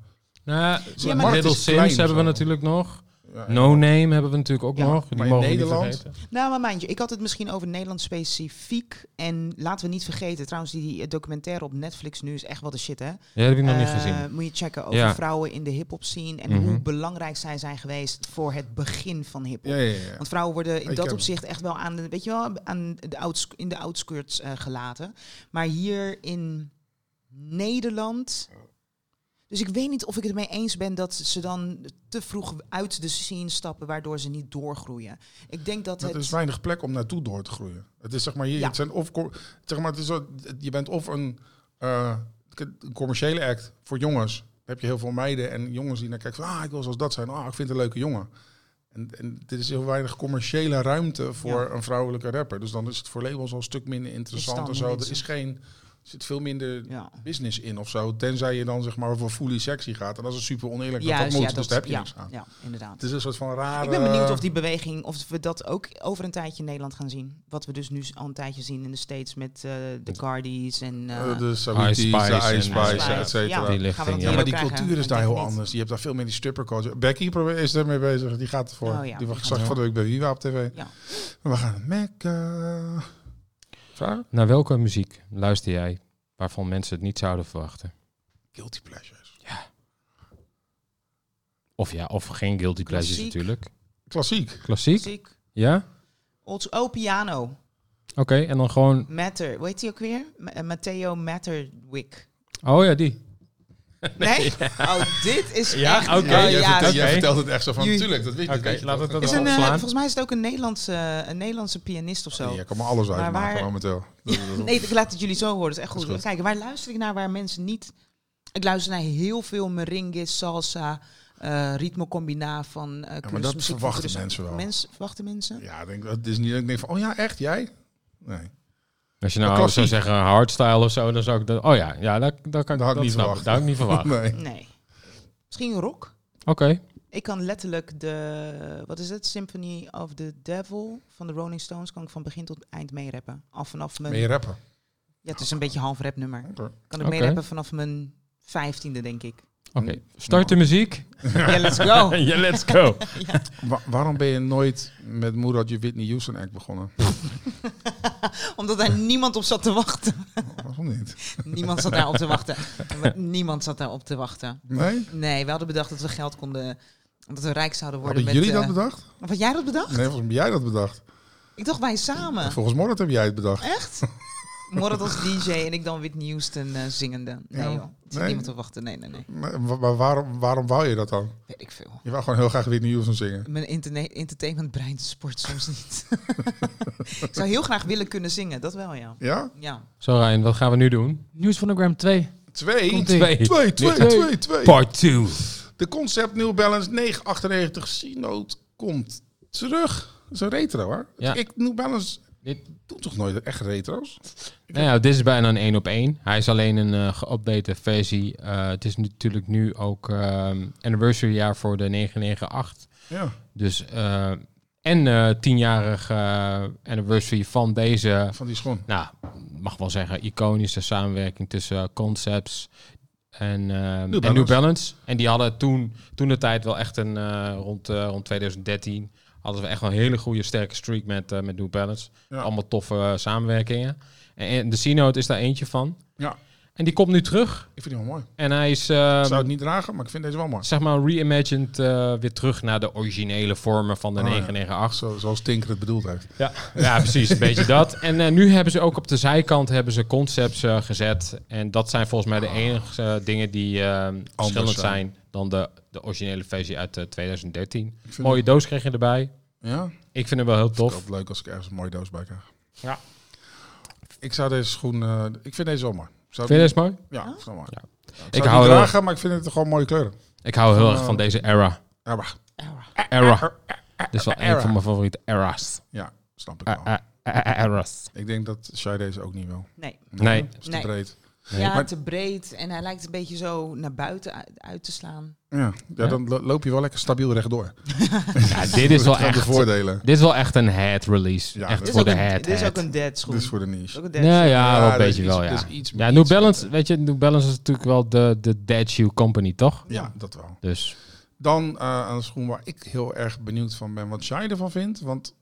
A: Ja, maar-
B: Little
A: Het is klein
B: Sims hebben we
A: zo.
B: natuurlijk nog.
A: ja,
B: No Name hebben we natuurlijk ook
C: Ja,
B: nog. Die
A: maar in
B: mogen we niet
A: Nederland-
B: vergeten.
C: Nou, maar mind je, ik had het misschien over Nederland specifiek. En laten we niet vergeten, trouwens, die documentaire op Netflix nu is echt wat de shit, hè?
B: Ja, dat heb ik nog niet
C: Eh,
B: gezien.
C: Moet je checken over
B: Ja.
C: vrouwen in de hip-hop scene en
B: Mhm.
C: hoe belangrijk zij zijn geweest voor het begin van hip-hop.
A: ja, ja, ja.
C: Want vrouwen worden in
A: Ik
C: dat
A: heb-
C: opzicht echt wel aan de, weet je wel, aan de outs, in de outskirts eh, gelaten. Maar hier in Nederland. Dus ik weet niet of ik het mee eens ben dat ze dan te vroeg uit de scene stappen, waardoor ze niet doorgroeien. Ik denk dat
A: Maar
C: het.
A: er is weinig plek om naartoe door te groeien. Het is zeg maar hier,
C: Ja.
A: het zijn of cor- zeg maar, het is, zo- je bent of een, eh, een commerciële act voor jongens. Dan heb je heel veel meiden en jongens die naar kijken van, ah, ik wil zoals dat zijn. Ah, ik vind het een leuke jongen. En, en dit is heel weinig commerciële ruimte voor een vrouwelijke rapper. Dus dan is het voor labels al een stuk minder interessant
C: dan
A: en zo.
C: niet
A: Er is
C: zo.
A: geen, er zit veel minder
C: ja.
A: business in of zo. Tenzij je dan zeg maar voor fully sexy gaat. En dat is super oneerlijk dat
C: Juist,
A: dat moet.
C: ja,
A: dus daar heb je
C: ja,
A: niks aan.
C: Ja,
A: Het
C: inderdaad.
A: is eh, een soort van rare...
C: Ik ben benieuwd of die beweging, of we dat ook over een tijdje in Nederland gaan zien. Wat we dus nu al een tijdje zien in de States met eh, de Cardi's en... eh,
A: Eh, de
B: Ice
A: Saoedi's, de
B: Spice en-
A: Ice Spice,
B: Spice,
A: et cetera.
C: ja.
B: Die
C: Gaan we
B: lichting,
C: dat
B: ja.
C: hier
A: Ja, maar
C: ook
A: die
C: krijgen?
A: cultuur is
C: Dat
A: daar
C: denk
A: heel
C: ik niet.
A: anders. Je hebt daar veel meer die stripperculture. Becky probeer- is ermee bezig. Die gaat ervoor.
C: Oh ja,
A: die
C: die
A: was
C: gaat
A: zag ik
B: ervoor.
A: van de week bij Wiwa op tv.
C: Ja.
A: We gaan naar Mekka. Vragen?
B: Naar welke muziek luister jij waarvan mensen het niet zouden verwachten?
A: Guilty pleasures.
B: Of ja, of geen guilty pleasures
C: Klassiek.
B: natuurlijk.
A: Klassiek.
B: Klassiek?
C: Muziek.
B: Ja?
C: Olds- Oh, piano.
B: Oké, en dan gewoon...
C: Matter. Hoe heet hij ook weer? Ma- eh, Matteo Matterwick.
B: Oh ja, die. (laughs)
C: Nee? Oh, dit is
B: Ja,
C: echt...
B: oké,
C: Oh,
B: jij
C: ja,
B: vertelt-
C: dat-
B: jij vertelt
A: het echt zo
C: van,
A: Natuurlijk, dat weet
B: Oké, laten we dat
C: is
B: dan
C: een, eh,
B: opslaan.
C: volgens mij is het ook een Nederlandse, eh, een Nederlandse pianist of zo.
A: Je kan maar alles
C: Maar
A: uitmaken
C: waar-
A: momenteel. Dat- dat- dat-
C: (laughs) Nee, ik laat het jullie zo horen. Dat is echt goed.
A: Dat is goed.
C: Kijk, waar luister ik naar waar mensen niet... Ik luister naar heel veel merengue, salsa, eh ritmecombina van... eh,
A: dat
C: kunstmuziek van
A: verwachten
C: Curaçao.
A: mensen wel.
C: Mensen, verwachten mensen?
A: Ja, ik denk, het is niet dat ik denk van, oh ja, echt? Jij? Nee.
B: Als je
A: Maar
B: nou
A: klassiek.
B: zou zeggen hardstyle of zo, dan zou ik dat... Oh ja, ja dat, dat kan
A: Dat had ik
B: dat
A: niet
B: snap ik.
A: verwacht.
B: Dat had ik niet verwacht.
A: (laughs) nee.
C: Nee. Misschien rock?
B: Oké.
C: Ik kan letterlijk de, wat is het, Symphony of the Devil van de Rolling Stones, kan ik van begin tot eind meerappen. Al vanaf mijn,
A: Meer rappen.
C: ja het is een beetje een half rap nummer.
A: Oké.
C: Kan ik
B: Oké.
C: meerappen vanaf mijn vijftiende, denk ik. (laughs)
B: Oké, start
A: Nou.
B: de
A: (laughs)
B: muziek.
C: Ja, let's go. (laughs)
B: Ja, let's go.
A: Wa- waarom ben je nooit met Moerad je Whitney Houston act begonnen?
C: Omdat daar niemand op zat te wachten.
A: Waarom niet?
C: Niemand zat daar op te wachten. Niemand zat daar op te wachten.
A: Nee?
C: Nee, we hadden bedacht dat we geld konden, dat we rijk zouden worden
A: Hadden
C: met...
A: jullie dat
C: eh,
A: bedacht?
C: wat had jij dat bedacht?
A: Nee, volgens mij heb jij dat bedacht.
C: Ik dacht wij samen.
A: Volgens Moerad heb jij het bedacht. (laughs)
C: Echt? Morad als DJ en ik dan Whitney Houston eh, zingende. Nee
A: Ja.
C: joh, er zit
A: Nee.
C: niemand op te wachten. Nee, nee, nee.
A: Maar wa- maar waarom, waarom wou je dat dan?
C: Weet ik veel.
A: Je wou gewoon heel graag Whitney Houston zingen.
C: Mijn interne- entertainmentbrein sport soms niet. (laughs) ik zou heel graag willen kunnen zingen, dat wel ja.
A: Ja?
C: Ja,
B: Zo Rijn, wat gaan we nu doen?
D: Nieuws van de Gram 2.
A: Twee.
D: Komt-ie.
B: Twee.
A: Twee, twee,
B: Twee.
A: twee, twee.
B: Part 2.
A: De concept New Balance 998 C-Note komt terug. Dat is een retro, hè?
B: Ja.
A: Ik, New Balance
B: Dit-
A: doet toch nooit echt retro's?
B: Nou ja, dit is bijna een één op één. Hij is alleen een eh geüpdate versie. Eh, het is natuurlijk nu ook ehm anniversary jaar voor de 998.
A: Ja.
B: Dus eh, En eh tienjarig eh, anniversary van deze,
A: Van die schoen.
B: nou, mag wel zeggen, iconische samenwerking tussen eh, Concepts en, eh, en New
A: Balance.
B: Balance. En die hadden toen, toen de tijd wel echt een, eh, rond, eh, rond 2013, hadden we echt wel een hele goede sterke streak met, eh, met New Balance.
A: Ja.
B: Allemaal toffe eh, samenwerkingen. En, en de C-Note is daar eentje van.
A: Ja.
B: En die komt nu terug.
A: Ik vind die wel mooi.
B: En hij is, eh,
A: Ik zou het niet dragen, maar ik vind deze wel mooi.
B: zeg maar, reimagined eh, weer terug naar de originele vormen van de
A: Oh, ja.
B: 998.
A: Zo, zoals Tinker het bedoeld heeft.
B: Ja, ja precies. Een beetje dat. En eh, nu hebben ze ook op de zijkant hebben ze concepts eh, gezet. En dat zijn volgens mij de enige eh, dingen die eh, verschillend
A: zijn.
B: zijn dan de, de originele versie uit eh, 2013.
A: Ik vind
B: Mooie doos kreeg je erbij.
A: Ja?
B: Ik vind hem wel heel
A: Of.
B: tof.
A: leuk als ik ergens een mooie doos bij krijg.
B: Ja.
A: Ik zou deze schoen... eh, ik vind deze wel mooi. Zou
B: Vind je deze mooi?
A: Ja, ik vind hem mooi.
B: Ja.
A: Ja, ik,
B: Ik
A: zou
B: hou
A: hou
B: er wel-
A: dragen, maar ik vind het gewoon mooie kleuren.
B: Ik hou heel
A: Van,
B: erg
A: eh,
B: van deze era.
A: Ja, maar,
B: Era. Dit is wel een
A: Era. Oh.
B: van mijn favoriete era's.
A: ja snap ik
B: Eh,
A: wel.
B: eh, eh, eh, Era's.
A: Ik denk dat Shai deze ook niet wil.
C: Nee.
B: Nee.
A: Is te
C: Nee.
A: breed.
C: Ja,
A: Maar-
C: te breed. En hij lijkt een beetje zo naar buiten uit, uit te slaan.
A: Ja. Ja, dan lo- loop je wel lekker stabiel rechtdoor.
B: Ja, dit is wel
A: Dat zijn de
B: echt...
A: voordelen.
B: Dit is wel echt een head release.
A: Ja, dit
B: echt
A: is
C: Dit
B: voor
C: is,
B: de
C: ook een,
B: head.
C: dit is
B: head.
C: ook een dead schoen.
A: Dit is voor de
C: Dit is
A: niche.
C: ook een dead
B: Nou
C: schoen.
B: ja, wel een
A: dat is
B: beetje
A: iets-
B: wel, ja.
A: dat is iets-
B: ja,
A: iets
B: New Balance,
A: beter.
B: weet je, New Balance is natuurlijk wel de, de dead shoe company, toch?
A: Ja, dat wel.
B: Dus
A: Dan eh een schoen waar ik heel erg benieuwd van ben wat jij ervan vindt. Want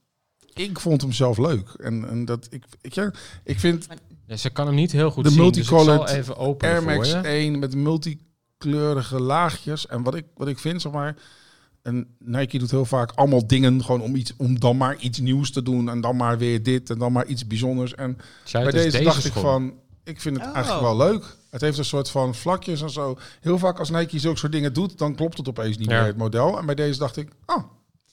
A: ik vond hem zelf leuk. En, en dat ik, ik, ja, ik vind
B: ja, ze kan hem niet heel goed
A: De
B: zien, dus ik
A: multicolored
B: zal even open
A: Air
B: voor
A: Max
B: je.
A: 1 met multikleurige laagjes. En wat ik, wat ik vind, zeg maar. En Nike doet heel vaak allemaal dingen gewoon om, iets, om dan maar iets nieuws te doen. En dan maar weer dit en dan maar iets bijzonders. En
B: Zij,
A: bij
B: het is
A: deze, dacht
B: schoen.
A: ik van, ik vind het
C: Oh.
A: eigenlijk wel leuk. Het heeft een soort van vlakjes en zo. Heel vaak als Nike zulke soort dingen doet, dan klopt het opeens niet
B: Ja.
A: meer het model. En bij deze dacht ik, oh,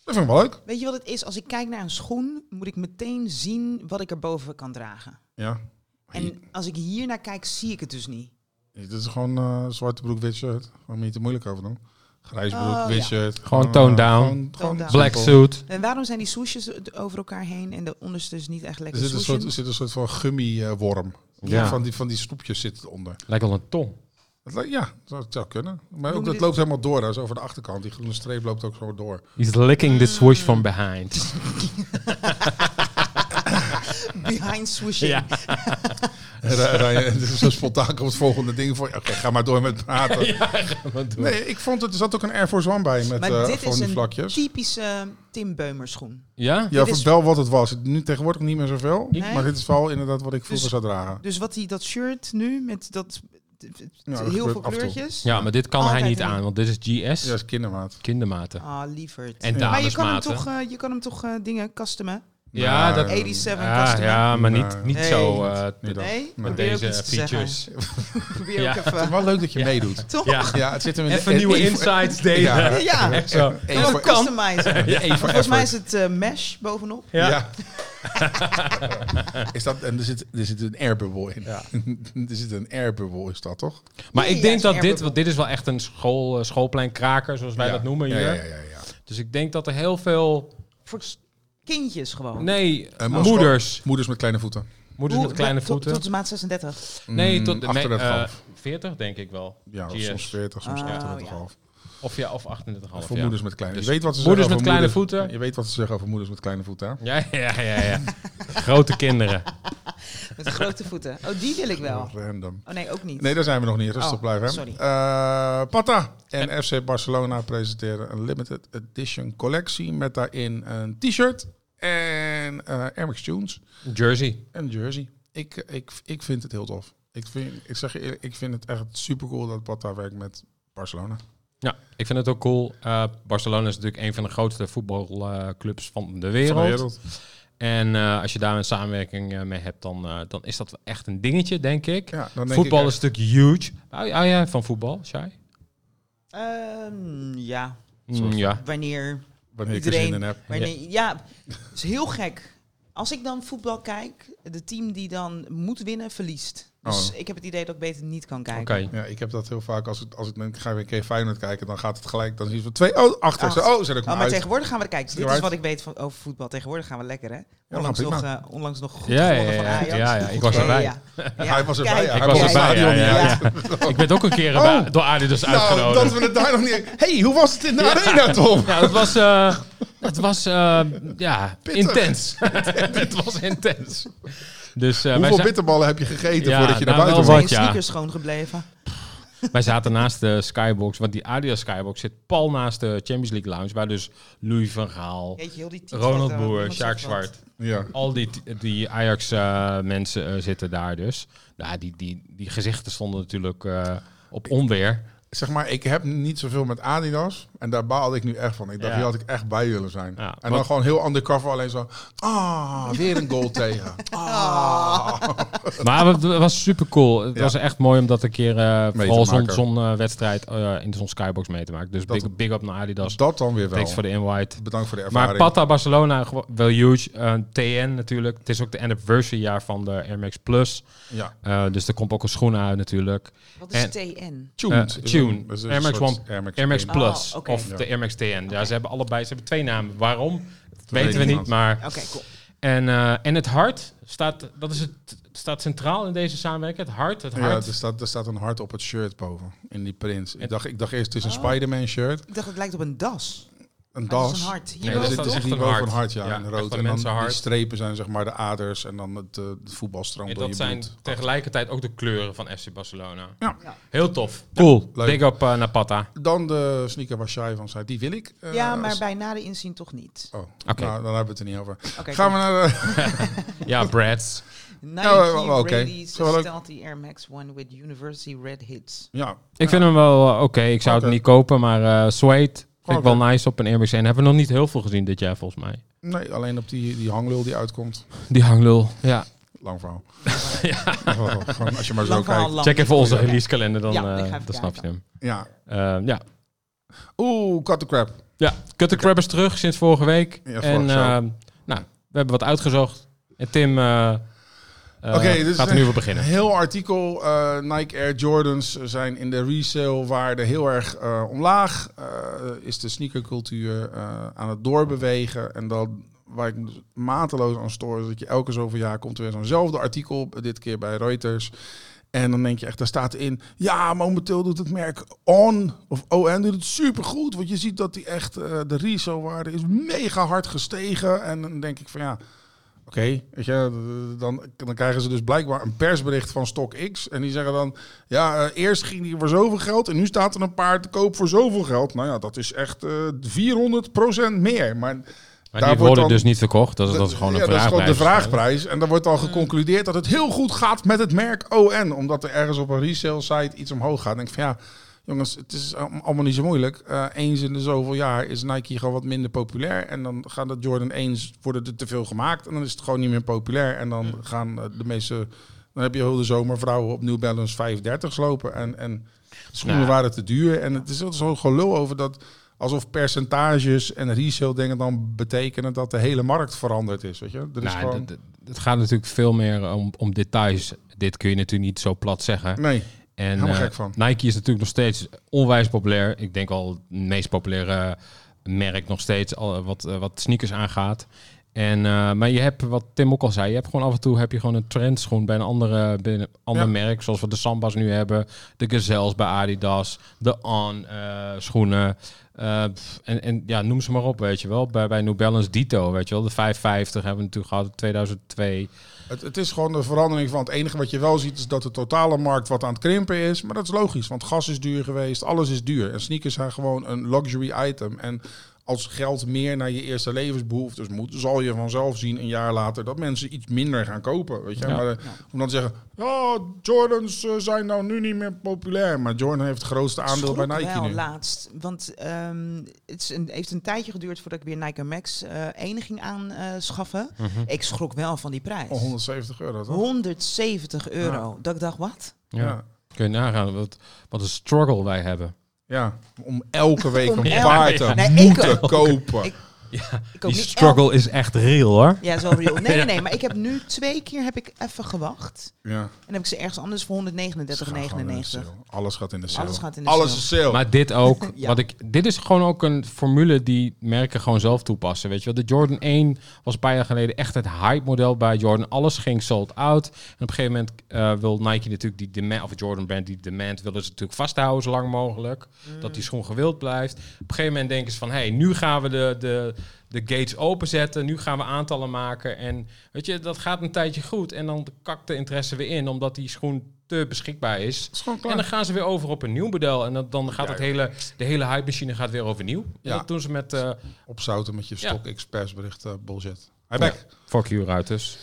A: dat vind ik wel leuk.
C: Weet je wat het is? Als ik kijk naar een schoen, moet ik meteen zien wat ik erboven kan dragen.
A: Ja,
C: En als ik hier naar kijk, zie ik het dus niet.
A: dit is gewoon eh, zwarte broek, wit shirt. Gewoon niet te moeilijk over doen. Grijs broek,
C: Oh,
A: wit
C: ja.
A: shirt.
B: Gewoon
A: eh,
B: toned down.
C: Toned down.
B: Black
A: simpel.
B: suit.
C: En waarom zijn die soesjes over elkaar heen en de onderste is niet echt
A: Er
C: lekker
A: zit een
C: soesje?
A: soort, er zit een soort van gummi-worm.
B: Ja.
A: Van, die, van die snoepjes zit eronder.
B: Lijkt wel een tong.
A: Dat li- Ja, dat zou kunnen. Maar ook,
C: Noemen
A: dat
C: dit-
A: loopt helemaal door. Dat is over de achterkant. Die groene streep loopt ook zo door.
B: He's licking the swoosh
A: (laughs)
B: from behind.
C: (laughs) Behind swooshing.
B: (laughs) Ja.
A: Ra- Ryan, (laughs) dit is zo spontaan komt het volgende ding voor je. Oké, ga maar door met
C: (laughs)
A: praten. Nee, ik vond het, er zat ook een Air Force One bij met
C: Maar
A: eh,
C: dit
A: van
C: is
A: die
C: een
A: vlakjes.
C: typische Tim Beumer schoen.
B: Ja?
A: Ja,
C: dit
A: voor
C: is-
A: wel wat het was. Nu tegenwoordig niet meer zoveel.
C: Nee.
A: Maar dit is wel inderdaad wat ik vroeger zou dragen.
C: Dus wat hij dat shirt nu met dat t- t-
A: dat
C: heel
A: gebeurt
C: veel
A: af en toe.
C: kleurtjes.
B: Ja, maar dit kan
C: Altijd
B: hij niet
C: een-
B: aan, want dit is GS,
A: Ja, is kindermaat.
B: kindermaten.
C: Ah, lieverd.
B: En
C: maar je kan hem
B: damesmaten.
C: toch, eh, je kan hem toch eh, dingen customen?
B: Ja,
A: Maar,
B: dat-
A: eh,
C: 87
B: Ja,
C: customen.
B: ja, maar niet,
A: Nee.
B: niet
C: Nee.
B: zo eh,
A: Nee, dat-
C: Nee,
A: Nee.
B: met
C: Probeer ook
B: deze
C: iets te
B: features.
C: zeggen. (laughs) Probeer
B: Ja.
C: ook even.
A: Wel leuk dat je
B: Ja.
A: meedoet.
C: Toch?
B: Ja,
A: Ja, het zit hem (laughs) in de-
B: even nieuwe
A: één-
B: insights delen.
A: (laughs) Ja.
B: Ja.
C: (laughs) Ja,
B: Echt zo.
A: één
C: Wel
A: voor-
C: customizen.
B: Ja, één voor
C: Volgens mij is
B: effort.
C: het eh, mesh bovenop.
A: Ja. (laughs)
B: Ja.
A: is dat, en er zit, er zit een airbubbel in. (laughs) er zit een airbubbel, is dat toch?
B: Maar
C: Nee,
B: ik
C: ja,
B: denk
C: het is
B: dat dit,
C: een airbubble.
B: want dit is wel echt een school, eh, schoolpleinkraker, zoals wij
A: Ja.
B: dat noemen
A: Ja,
B: hier.
A: ja, ja. ja, ja.
B: Dus ik denk dat er heel veel,
C: Voor s- kindjes gewoon.
B: nee,
A: Eh, maar-
B: moeders,
A: Moeders met kleine voeten.
B: moeders
C: Hoe-
B: met kleine
C: tot-
B: voeten.
C: Tot de maat 36.
B: nee,
A: Mm,
B: tot nee,
A: 38,5.
B: eh, 40 denk ik wel.
A: ja, of
B: GS.
A: soms 40, soms
C: Ah,
A: 38,5.
B: Of ja, of 38,5.
A: Voor
B: ja.
A: moeders met kleine
B: Dus
A: je weet wat ze
B: moeders
A: zeggen
B: met kleine
A: over moeders-
B: voeten.
A: Je weet wat ze zeggen over moeders met kleine voeten. hè?
B: Ja, (laughs) ja, ja, ja. Grote kinderen.
C: Met grote voeten. Oh, die wil ik wel.
A: Random.
C: Oh nee, ook niet.
A: Nee, daar zijn we nog niet. Rustig
C: Oh,
A: blijven. hè?
C: sorry.
A: Eh, Pata en FC Barcelona presenteren een limited edition collectie met daarin een t-shirt en eh Air Max Tunes
B: Jersey.
A: en een jersey. Ik, ik, ik vind het heel tof. Ik, vind, ik zeg je eerlijk, ik vind het echt super cool dat Pata werkt met Barcelona.
B: Ja, ik vind het ook cool. Eh, Barcelona is natuurlijk een van de grootste voetbalclubs van de wereld.
A: Van de wereld.
B: En eh, als je daar een samenwerking eh, mee hebt, dan, eh, dan is dat wel echt een dingetje, denk ik. eh,
A: Ja, dan denk
B: voetbal
A: ik,
B: is natuurlijk huge. Hou hou jij van voetbal, Shai?
C: Ehm, ja,
B: Mm, ja.
C: wanneer...
A: wanneer ik er
C: iedereen-
A: zin in heb.
C: wanneer ja, het is heel gek. Als ik dan voetbal kijk, de team die dan moet winnen, verliest. Dus
A: Oh.
C: ik heb het idee dat ik beter niet kan
B: Oké.
C: kijken.
A: Ja, ik heb dat heel vaak. Als, het, als ik, ik ga weer een keer Feyenoord kijken, dan gaat het gelijk. Dan zien we twee. Oh, achter.
C: Acht.
A: Zo, Oh, zet ik
C: Oh, maar
A: maar uit.
C: tegenwoordig gaan we er kijken. Dit
A: Eruit.
C: is wat ik weet van, over voetbal. Tegenwoordig gaan we lekker, hè?
A: nou,
C: Onlangs,
A: prima.
C: nog, eh, onlangs nog goed
B: Ja, ja,
C: gewonnen van
B: ja,
C: Ajax.
B: ja, ja, ik was
C: Ja,
B: erbij.
A: (laughs)
C: ja, ja.
A: Hij was erbij.
C: Kijk,
A: ja.
B: Ik
A: Hij
B: was
A: kon het
B: erbij,
A: stadion
B: ja,
A: niet
B: ja, Oh.
A: uit.
B: Ik werd ook een keer erbij- door Adidas
A: Nou,
B: uitgenodigd.
A: dat we het daar nog niet... hey, hoe was het in de arena, Tom?
B: Ja, dat was... eh, Het was, eh, ja,
A: Pittig. (laughs)
B: intens. het was intens. Dus eh, wij,
A: Hoeveel
B: za-
A: bitterballen heb je gegeten
B: Ja,
A: voordat je naar
B: nou,
A: buiten was?
B: wel
C: Zijn
B: Wat, ja.
C: sneakers schoon gebleven.
B: wij zaten naast de Skybox, want die Adidas Skybox zit pal naast de Champions League Lounge, waar dus Louis van Gaal,
C: Jeetje, heel die types wat,
B: Ronald
C: eh,
B: Boer,
C: niemand
B: Sjaak
C: zegt wat.
B: Zwart,
A: Ja.
B: al die, die Ajax-mensen zitten daar dus. Nou, die, die, die gezichten stonden natuurlijk eh, op onweer.
A: Zeg maar, ik heb niet zoveel met Adidas. En daar baalde ik nu echt van. Ik dacht,
B: Ja.
A: hier had ik echt bij willen zijn.
B: Ja,
A: en dan
B: want-
A: gewoon heel undercover alleen zo... Ah, weer een
B: (laughs)
A: goal tegen.
B: Maar het was super cool. Het
A: Ja.
B: was echt mooi om dat een keer eh
A: te
B: vooral zo'n
A: maken.
B: zo'n, eh, wedstrijd eh, in zo'n skybox mee te maken. Dus
A: Dat-
B: big, big up naar Adidas.
A: Dat dan weer wel.
B: Thanks voor de invite.
A: Bedankt voor de
B: Maar
A: ervaring.
B: Pata Barcelona, gewo- wel huge. Eh, TN natuurlijk. Het is ook de anniversary jaar van de Air Max Plus.
A: ja.
B: Eh, dus er komt ook een schoen uit natuurlijk.
C: Wat is
B: En-
C: TN?
A: Tuned.
B: Eh, tuned.
A: Dat is een
B: Air Max
A: soort
B: One-
A: Air Max,
B: Air Max
A: One.
B: Plus
C: Oh, oké.
B: of
A: Ja.
B: de Air Max TN. Ja, ze hebben allebei ze hebben twee namen. Waarom? Dat weten
A: weten
B: we
A: we
B: niet,
A: niet.
B: maar...
C: Oké, cool.
B: En, eh, en het hart staat, dat is het, staat centraal in deze samenwerking. Het hart, het
A: Ja, er
B: hart.
A: staat, er staat een hart op het shirt boven. In die print.
B: En-
A: Ik dacht, ik dacht eerst, het is een
C: Oh.
A: Spider-Man shirt.
C: Ik dacht, het lijkt op een das.
A: Een
C: Maar het is
A: das.
C: een hart. Hier
B: Nee,
A: Ja,
B: dat
C: ook,
A: dit
B: is
A: is het
B: echt een
A: niveau
B: hart.
A: van hart, ja.
B: Ja,
A: in
B: echt
A: rood.
B: een
A: En dan die
B: mensenhart.
A: strepen zijn zeg maar de aders en dan het, eh, de voetbalstroom.
B: En
A: door
B: dat
A: je
B: zijn
A: bloed.
B: tegelijkertijd ook de kleuren van FC Barcelona.
A: Ja.
C: Ja.
B: Heel tof. Cool.
A: leuk.
B: Big up eh, naar Patta.
A: Dan de sneaker waar Shai van zei, die wil ik. Eh,
C: ja, maar
A: als-
C: bij nader inzien toch niet.
A: Oh,
B: Oké.
A: nou, dan hebben we het er niet over.
C: Oké, dus
A: Gaan we naar de... (laughs)
B: Ja, Brads.
C: Nike
A: Ja, wel, wel, oké.
C: released
A: Zo wel leuk.
C: stelt die Air Max One with University Red Hits.
A: Ja,
B: Ik vind hem wel eh, oké. Ik zou
A: Oké.
B: het niet kopen, maar eh Suede vind ik wel
A: Oké.
B: nice op een Air Max 1. Hebben we nog niet heel veel gezien dit jaar volgens mij.
A: nee, alleen op die, die hanglul die uitkomt.
B: Die hanglul. Ja.
A: Lang
C: (laughs)
A: verhaal. Gewoon als je maar zo
C: Lang verhaal
A: kijkt.
C: lang.
B: Check even onze
C: Ja.
B: releasekalender, dan,
C: Ja, ik ga
B: eh,
C: even
B: dan snap je hem.
A: Ja.
B: Eh, ja.
A: Oeh, cut the crap.
B: ja, Cut the Crap is terug sinds vorige week.
A: Ja,
B: en
A: vorige show.
B: eh, nou, we hebben wat uitgezocht. En Tim eh, eh,
A: Oké, dus dit is
B: gaat er nu weer beginnen.
A: Een heel artikel. eh, Nike Air Jordans eh, zijn in de resalewaarde heel erg eh, omlaag. Eh, is de sneakercultuur eh, aan het doorbewegen. En dan waar ik me dus mateloos aan stoor, is dat je elke zoveel jaar komt er weer zo'nzelfde artikel. Dit keer bij Reuters. En dan denk je echt, daar staat in, ja, momenteel doet het merk On of ON doet het supergoed. Want je ziet dat die echt, eh, de resale-waarde is mega hard gestegen. En dan denk ik van ja, Oké, weet je, d- dan, dan krijgen ze dus blijkbaar een persbericht van StockX. En die zeggen dan, ja, eh, eerst ging die voor zoveel geld en nu staat er een paar te koop voor zoveel geld. Nou ja, dat is echt eh 400% meer. Maar
B: Maar
A: Daar
B: die
A: wordt
B: worden
A: dan-
B: dus niet verkocht. Dat is, dat is gewoon een
A: ja, dat is gewoon de
B: vraagprijs.
A: vraagprijs. En dan wordt al geconcludeerd dat het heel goed gaat met het merk ON. Omdat er ergens op een resale site iets omhoog gaat. Dan denk ik van ja, jongens, het is al- allemaal niet zo moeilijk. Eh, eens in de zoveel jaar is Nike gewoon wat minder populair. En dan gaan de Jordan 1's, worden er te veel gemaakt. En dan is het gewoon niet meer populair. En dan gaan eh, de meeste... Dan heb je heel de zomer vrouwen op New Balance 530's lopen. En, en schoenen
B: Nou.
A: waren te duur. En het is altijd zo'n gelul over dat... Alsof percentages en resale dingen dan betekenen dat de hele markt veranderd is. Weet je? Er is
B: Nou,
A: dus gewoon...
B: d- d- het gaat natuurlijk veel meer om, om details. Dit kun je natuurlijk niet zo plat zeggen.
A: Nee,
B: En
A: helemaal
B: eh,
A: gek van.
B: Nike is natuurlijk nog steeds onwijs populair. Ik denk al het meest populaire merk nog steeds al, wat, eh, wat sneakers aangaat. En, eh, maar je hebt, wat Tim ook al zei, je hebt gewoon af en toe heb je gewoon een trendschoen bij een andere, bij een ander
A: Ja.
B: merk. Zoals we de Sambas nu hebben, de Gazelles bij Adidas, de On eh, schoenen. Eh, pff, en, en ja, noem ze maar op, weet je wel. Bij, bij New Balance Dito, weet je wel. De 550 hebben we natuurlijk gehad in 2002.
A: het, het is gewoon de verandering van het enige wat je wel ziet is dat de totale markt wat aan het krimpen is. Maar dat is logisch, want gas is duur geweest, alles is duur. En sneakers zijn gewoon een luxury item. En als geld meer naar je eerste levensbehoeftes moet, zal je vanzelf zien een jaar later dat mensen iets minder gaan kopen. Weet je?
B: Ja.
A: Maar eh, om dan te zeggen, ja, Jordans eh, zijn nou nu niet meer populair. Maar Jordan heeft het grootste aandeel
C: Schrok
A: bij Nike
C: wel
A: nu.
C: laatst. Want ehm, het is een, heeft een tijdje geduurd voordat ik weer Nike Air Max eh 1 ging aanschaffen.
A: (laughs) Mhm.
C: Ik schrok wel van die prijs.
A: Oh, 170 euro, toch?
C: 170 euro. Dat ik dacht, wat?
B: ja. Kun je nagaan wat, wat een struggle wij hebben.
A: Ja, om elke week
C: Om
A: een
C: elke-
A: paard te
C: Nee, ik
A: moeten
C: ook.
A: kopen.
C: Ik- Ik koop
B: Die
C: niet
B: struggle is echt real hoor.
C: elk- Ja, zo
A: (laughs)
C: real. Nee, nee, nee. Maar ik heb nu twee keer heb ik even gewacht.
A: ja.
C: En heb ik ze ergens anders voor 139,99.
A: Alles gaat in de sale.
C: sale. gaat in de sale.
A: is sale.
B: Maar dit ook.
C: (laughs) Ja.
B: wat ik, dit is gewoon ook een formule die merken gewoon zelf toepassen. Weet je wel, de Jordan 1 was een paar jaar geleden echt het hype model bij Jordan. Alles ging sold out. En op een gegeven moment eh, wil Nike natuurlijk die demand, of Jordan Brand die demand, willen ze natuurlijk
C: Mm.
B: vasthouden zo lang mogelijk. Dat die schoen gewild blijft. Op een gegeven moment denken ze van, hé, hey, nu gaan we de, de, de gates openzetten. Nu gaan we aantallen maken. En weet je, dat gaat een tijdje goed. En dan kakt de interesse weer in, omdat die schoen te beschikbaar is.
A: is gewoon
B: En
A: klaar.
B: dan gaan ze weer over op een nieuw model. En dat, dan gaat
A: Ja,
B: het hele, de hele hype-machine gaat weer overnieuw.
A: Ja.
B: Ja. Dat doen ze met... eh
A: Opzouten met je
B: Ja.
A: stok expressbericht eh, bullshit. Hi back.
B: fuck you, Ruiters.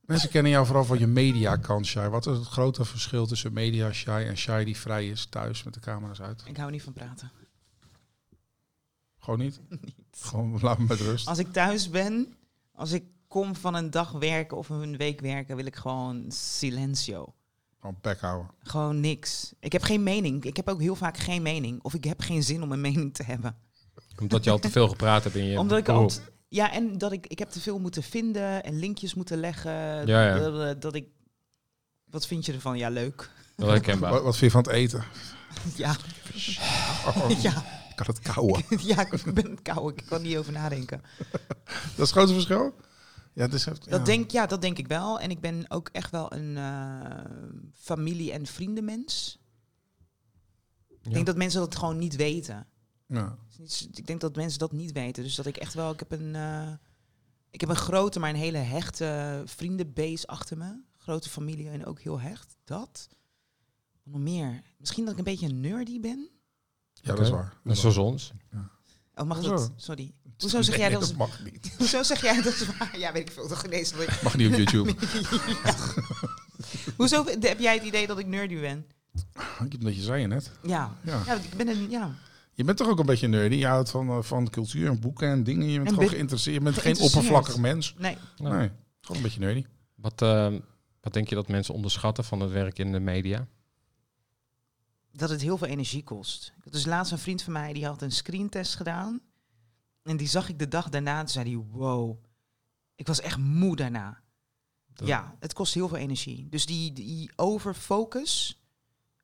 A: Mensen kennen jou vooral van je media kant, Shai. Wat is het grote verschil tussen media Shai en Shai die vrij is thuis met de camera's uit?
C: Ik hou niet van praten.
A: Gewoon
C: (laughs)
A: niet? Gewoon laat me met rust.
C: Als ik thuis ben, als ik kom van een dag werken of een week werken, wil ik gewoon silencio.
A: Gewoon bek houden.
C: Gewoon niks. Ik heb geen mening. Ik heb ook heel vaak geen mening. Of ik heb geen zin om een mening te hebben.
B: Omdat je al te veel gepraat hebt in je
C: Omdat ik
B: beroep.
C: al. t- Ja, en dat ik, ik heb te veel moeten vinden en linkjes moeten leggen.
B: ja.
C: Dat, eh, dat ik. Wat vind je ervan? Ja, leuk. (laughs)
B: Wel herkenbaar.
A: Wat, wat vind je van het eten?
C: Ja,
A: Oh,
C: ja,
A: Ik kan het kauwen.
C: ja, ik ben koud. Ik kan niet over nadenken.
A: Dat is het grote verschil? Ja, het is, dat
C: Dat, denk, ja, dat denk ik wel. En ik ben ook echt wel een eh, familie- en vriendenmens. Ik denk dat mensen dat gewoon niet weten.
A: Ja.
C: Het is niet- Ik denk dat mensen dat niet weten. Dus dat ik echt wel, ik heb een, eh, ik heb een grote, maar een hele hechte vriendenbase achter me. Grote familie en ook heel hecht. Dat. Wat Nog meer. Misschien dat ik een beetje een nerdy ben.
A: Ja, dat
B: Oké.
A: is waar.
B: Net zoals ons.
C: Oh, mag
A: Hoezo?
C: dat? Sorry. (laughs) Hoezo zeg jij
A: Nee,
C: dat?
A: dat
C: is-
A: mag niet.
C: Hoezo zeg jij dat? (laughs) is waar? Ja, weet ik veel. Toch ineens. dat ik-
A: Mag niet op YouTube.
C: Hoezo v- heb jij het idee dat ik nerdy ben?
A: Omdat je zei je net.
C: Ja.
A: Ja.
C: Ja, ik ben een, ja.
A: Je bent toch ook een beetje nerdy? Je houdt van, eh, van cultuur en boeken en dingen. Je bent
C: En
A: gewoon
C: ben-
A: geïnteresseerd. Je bent geen
C: geïnteresseerd.
A: oppervlakkig mens.
C: Nee.
B: Ja.
A: Nee, gewoon een beetje nerdy.
B: Wat, eh, wat denk je dat mensen onderschatten van het werk in de media?
C: dat het heel veel energie kost. Ik had dus laatst een vriend van mij die had een screentest gedaan. En die zag ik de dag daarna en toen zei hij, wow, ik was echt moe daarna.
B: Dat-
C: Ja, het kost heel veel energie. Dus die, die overfocus,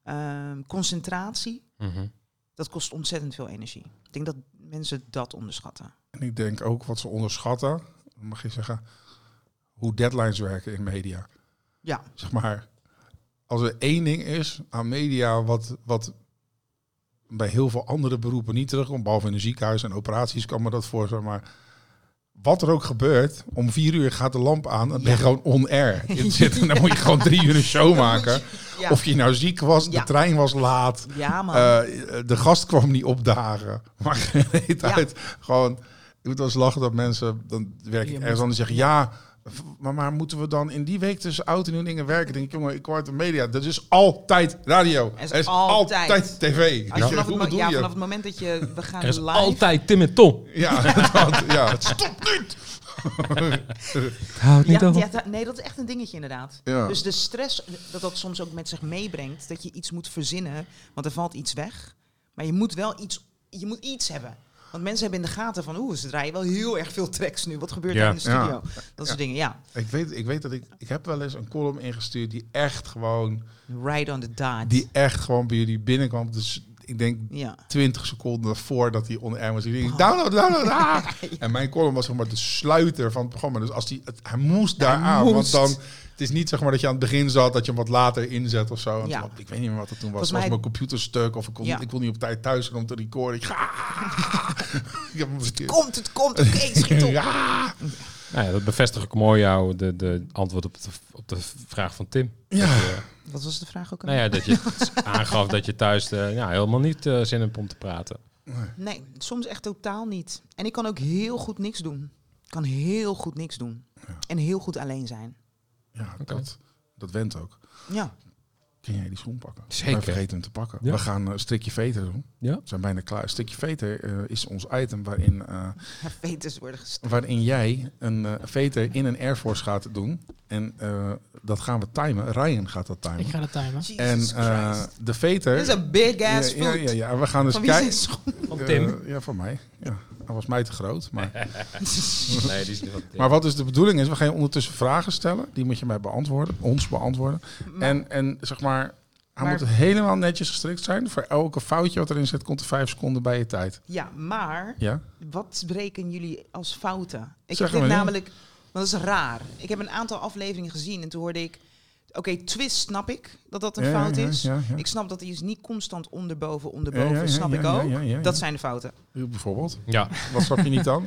C: ehm, concentratie,
B: Mhm.
C: dat kost ontzettend veel energie. Ik denk dat mensen
A: (laughs)
C: dat onderschatten.
A: En ik denk ook wat ze onderschatten, mag je zeggen, hoe deadlines werken in media.
C: Ja.
A: Zeg maar, als er één ding is aan media wat, wat bij heel veel andere beroepen niet terugkomt, behalve in een ziekenhuis en operaties kan me dat voor, zeg maar. Wat er ook gebeurt, om vier uur gaat de lamp aan en ben je gewoon
C: (laughs)
A: on-air. in zit en dan moet je gewoon drie uur een show maken.
C: Ja,
A: Of je nou ziek was, de
C: Ja.
A: trein was laat,
C: ja man.
A: eh, de gast kwam niet opdagen. (laughs) Maar geen reet
C: Ja.
A: uit. Gewoon, ik moet wel eens lachen dat mensen, dan werk
C: Je
A: ik ergens
C: moet-
A: anders zeggen, ja, v- maar, maar moeten we dan in die week tussen oud en nieuw dingen werken? Dan denk ik, jongen, ik hoor uit de media, dat is altijd radio.
C: Er is
A: Er is altijd,
C: altijd.
A: tv.
C: Als je vanaf,
A: Hoe
C: het, mo-
A: bedoel
C: ja,
A: je?
C: vanaf het moment dat je, we gaan
B: Er is
C: live.
B: altijd Tim en Tom.
A: Ja, (laughs) dat, ja, het stopt niet.
B: Houd
C: Ja, ja, da- nee, dat is echt een dingetje inderdaad.
A: Ja.
C: Dus de stress dat dat soms ook met zich meebrengt, dat je iets moet verzinnen, want er valt iets weg. Maar je moet wel iets, je moet iets hebben. Want mensen hebben in de gaten van, oeh, ze draaien wel heel erg veel tracks nu. Wat gebeurt
B: Ja.
C: er in de studio?
A: Ja.
C: Dat soort dingen, ja.
A: Ik weet, ik weet dat ik, ik heb wel eens een column ingestuurd die echt gewoon,
C: Ride on the dot.
A: die echt gewoon bij jullie binnenkwam. Dus ik denk
C: Ja.
A: 20 seconden voordat hij on air was. Ik denk, download, download,
C: (laughs)
A: ah! En mijn column was zeg maar de sluiter van het programma. Dus als die, het, hij moest daar aan. Want
C: moest.
A: dan, het is niet zeg maar dat je aan het begin zat, dat je hem wat later inzet of zo. En
C: Ja.
A: toen- ik weet niet meer wat het toen was.
C: Volgens
A: Het was mijn
C: mij-
A: computer stuk of ik kon,
C: Ja.
A: ik kon niet op tijd thuis komen om te recorden. Ik, (laughs) ik heb hem verkeerd.
C: Komt, het komt, oké, schiet op.
A: (laughs) Ja,
B: Nou ja, dat bevestig ik mooi jou, de, de antwoord op de, op de vraag van Tim.
A: ja.
C: Wat was de vraag ook?
B: Nou
C: alweer?
B: ja, dat je (laughs) het aangaf dat je thuis eh, ja, helemaal niet eh, zin hebt om te praten.
C: Nee, soms echt totaal niet. En ik kan ook heel goed niks doen. Ik kan heel goed niks doen. En heel goed alleen zijn.
A: ja
B: Oké.
A: dat, dat went ook.
C: Ja. (laughs)
A: Kun jij die schoen pakken?
B: Zeker.
A: We vergeten hem te pakken.
B: Ja.
A: We gaan eh, strikje veter doen.
B: Ja.
A: We zijn bijna klaar. Strikje veter eh, is ons item waarin... eh,
C: Veters worden gest-
A: waarin jij een eh veter in een Air Force gaat doen. En eh, dat gaan we timen. Ryan gaat dat timen.
D: Ik ga dat timen.
A: en
C: Jesus
A: eh,
C: Christ.
A: de veter...
C: Dit is een big
A: ja,
C: ass
A: ja,
C: food.
A: ja, ja, we gaan dus
C: Van wie zijn
A: kijken.
C: schoenen?
B: Van Tim.
A: ja, van mij. Ja, hij was mij te groot. Maar,
B: Nee, die is niet van Tim.
A: maar wat dus de bedoeling is, we gaan je ondertussen vragen stellen. Die moet je mij beantwoorden, ons beantwoorden. en, en zeg maar, hij
C: Maar-
A: moet helemaal netjes gestrikt zijn. Voor elke foutje wat erin zit, komt er vijf seconden bij je tijd.
C: Ja, maar
A: Ja?
C: wat breken jullie als fouten? Ik
A: Zeg
C: heb
A: maar
C: dit
A: niet.
C: namelijk, want dat is raar. Ik heb een aantal afleveringen gezien en toen hoorde ik Oké, twist snap ik dat dat een
A: Ja, ja,
C: fout
A: ja,
C: is.
A: ja, ja.
C: Ik snap dat hij is niet constant onderboven,
A: Ja,
C: onderboven.
A: ja, ja,
C: snap
A: ja,
C: ik
A: ja,
C: ook.
A: ja, ja, ja.
C: Dat zijn de fouten.
A: Bijvoorbeeld.
B: Ja,
A: Wat snap je niet dan?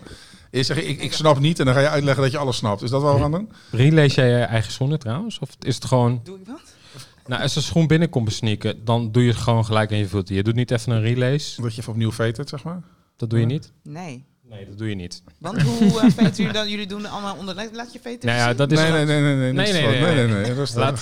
A: Je zegt, ik, ik snap niet en dan ga je uitleggen dat je alles snapt. Is dat wel gaan doen?
B: Rien, lees jij je eigen schoenen trouwens? Of is het gewoon...
C: Doe ik wat?
B: Nou, als een schoen binnenkomt besneaken, dan doe je het gewoon gelijk en je voelt Je doet niet even een relace.
A: Dat je even opnieuw vetert, zeg maar.
B: Dat doe je niet?
C: Nee.
B: Nee, dat doe je niet.
C: Want
A: (laughs)
C: hoe eh veten jullie dan? Jullie doen allemaal onder... Laat- Laat je veten
B: Nou ja,
C: zien.
B: dat is...
A: Nee, nee, nee, nee, nee.
B: Nee,
A: niet
B: nee,
A: zo.
B: nee,
A: nee,
B: nee.
A: nee, nee, rustig.
B: Laat-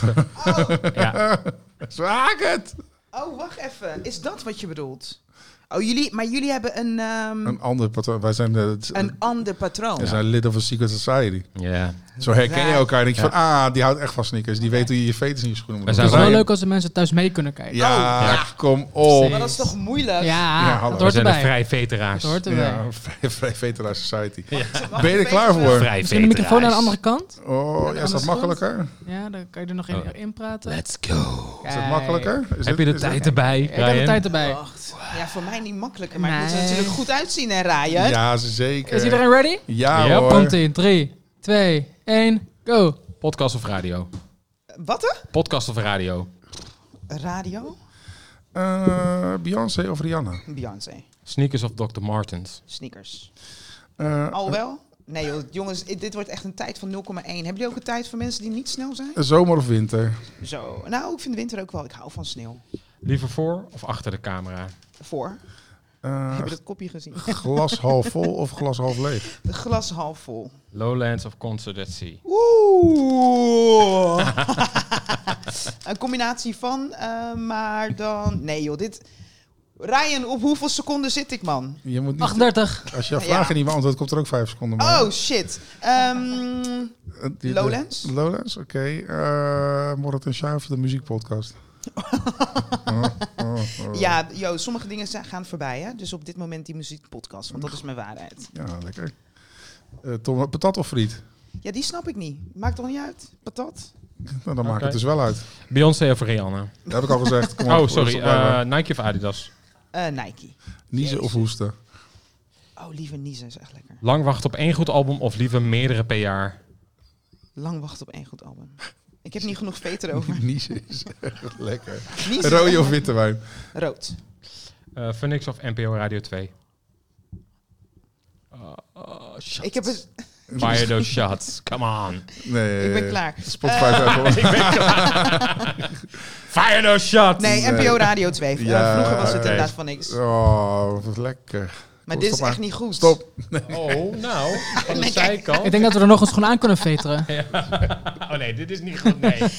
B: (laughs) ja.
A: Zwaak het!
C: Oh, wacht even. Is dat wat je bedoelt? Oh, jullie... Maar jullie hebben een, ehm,
A: Een ander patroon. Wij zijn, de, het-
C: een ander patroon.
A: we zijn lid of a secret society.
B: ja.
A: Zo herken je
C: Raar.
A: elkaar. en denk je
B: Ja.
A: van, ah, die houdt echt van sneakers. Die weet hoe je je veters in je schoenen moet
B: We
D: Het
A: doen.
D: is wel
B: zijn-
D: leuk als de mensen thuis mee kunnen kijken.
A: Ja,
C: Oh, ja.
A: kom op.
C: Maar dat is toch moeilijk?
D: Ja,
A: Ja, hallo.
D: dat
B: We
D: hoort
B: zijn de
D: erbij.
B: vrij veteraars.
D: Dat hoort erbij.
A: Ja, (laughs) vrij- Vrij veteraar society.
C: Wacht
A: Ben je er
C: even.
A: klaar voor?
B: Vrij
D: Misschien de microfoon aan de andere kant?
A: Oh, ja, is dat
D: Anders
A: makkelijker?
D: Ja, dan kan je er nog
A: Oh.
D: in, in praten.
B: Let's go.
A: Is dat makkelijker? Is dit-
B: Heb je de
A: is dit-
B: tijd erbij,
D: Ik heb de
B: Ryan?
D: tijd erbij.
C: Wacht. Ja, voor mij niet makkelijker, maar ik moet er
D: Nee.
C: natuurlijk goed uitzien, hè, Ryan?
A: Ja, zeker.
D: Is iedereen ready?
A: Ja,
B: Ja,
A: hoor.
D: Komt in. 3, 2, 1, go.
B: Podcast of radio?
C: Wat, hè?
B: Podcast of radio?
C: Radio?
A: Eh, Beyoncé of Rihanna?
C: Beyoncé.
B: Sneakers of Dr. Martens?
C: Sneakers.
A: Eh,
C: Alhoewel? Nee, joh, jongens, i- dit wordt echt een tijd van 0,1. Hebben jullie ook een tijd voor mensen die niet snel zijn?
A: zomer of winter?
C: Zo. Nou, ik vind de winter ook wel. Ik hou van sneeuw.
B: Liever voor of achter de camera?
C: Voor.
A: Eh,
C: Heb je dat kopje gezien?
A: glas half vol of glas half leeg?
C: De glas half vol.
B: Lowlands of Concert at Sea?
C: Oeh. (laughs) een combinatie van, eh, maar dan... Nee, joh, dit... Ryan, op hoeveel seconden zit ik, man?
A: Je moet niet,
D: 38.
A: als je vragen
C: Ja.
A: niet beantwoordt, komt er ook vijf seconden bij.
C: Oh, shit. Ehm
A: Eh, die-
C: Lowlands?
A: de- Lowlands, oké. Eh, Morat en Sjaaf, de muziekpodcast. Oh, oh, oh.
C: Ja, yo, sommige dingen zijn- gaan voorbij, hè? Dus op dit moment die muziekpodcast, want dat is mijn waarheid.
A: Ja, lekker. Eh, Tom, patat of friet?
C: Ja, die snap ik niet. Maakt toch niet uit? Patat?
A: Nou, dan maakt
B: Oké.
A: het dus wel uit.
B: Beyoncé of Rihanna?
A: Dat heb ik al gezegd. Kom op,
B: Oh, sorry.
A: rustig blijven.
B: eh, Nike of Adidas?
C: Eh, Nike.
A: Niezen of hoesten?
C: Oh, liever niezen is echt lekker.
B: Lang wachten op één goed album of liever meerdere per jaar?
C: Lang wachten op één goed album. Ik heb niet genoeg
A: (laughs)
C: veter over.
A: Niezen is echt lekker.
C: Oh Niezen.
A: Rode of witte wijn?
C: Rood.
B: Eh Phoenix of NPO Radio 2? Eh,
C: Ik, heb het,
B: Fire those (laughs) shots. Come on.
A: Nee. eh,
C: ik ben klaar. Eh,
A: Spotify
C: (laughs)
A: even.
B: Fire those shots.
C: Nee,
A: Nee.
C: NPO Radio 2. Eh,
A: Ja,
C: Vroeger was het
B: oké.
C: inderdaad van niks.
A: Oh, wat lekker.
C: Maar dit is
A: stop
C: echt
A: maar.
C: niet goed.
A: Stop.
B: Oh, nou. Van de zijkant.
D: Ik denk dat we er nog eens gewoon aan kunnen veteren.
B: Oh nee, dit is niet goed. Nee. dat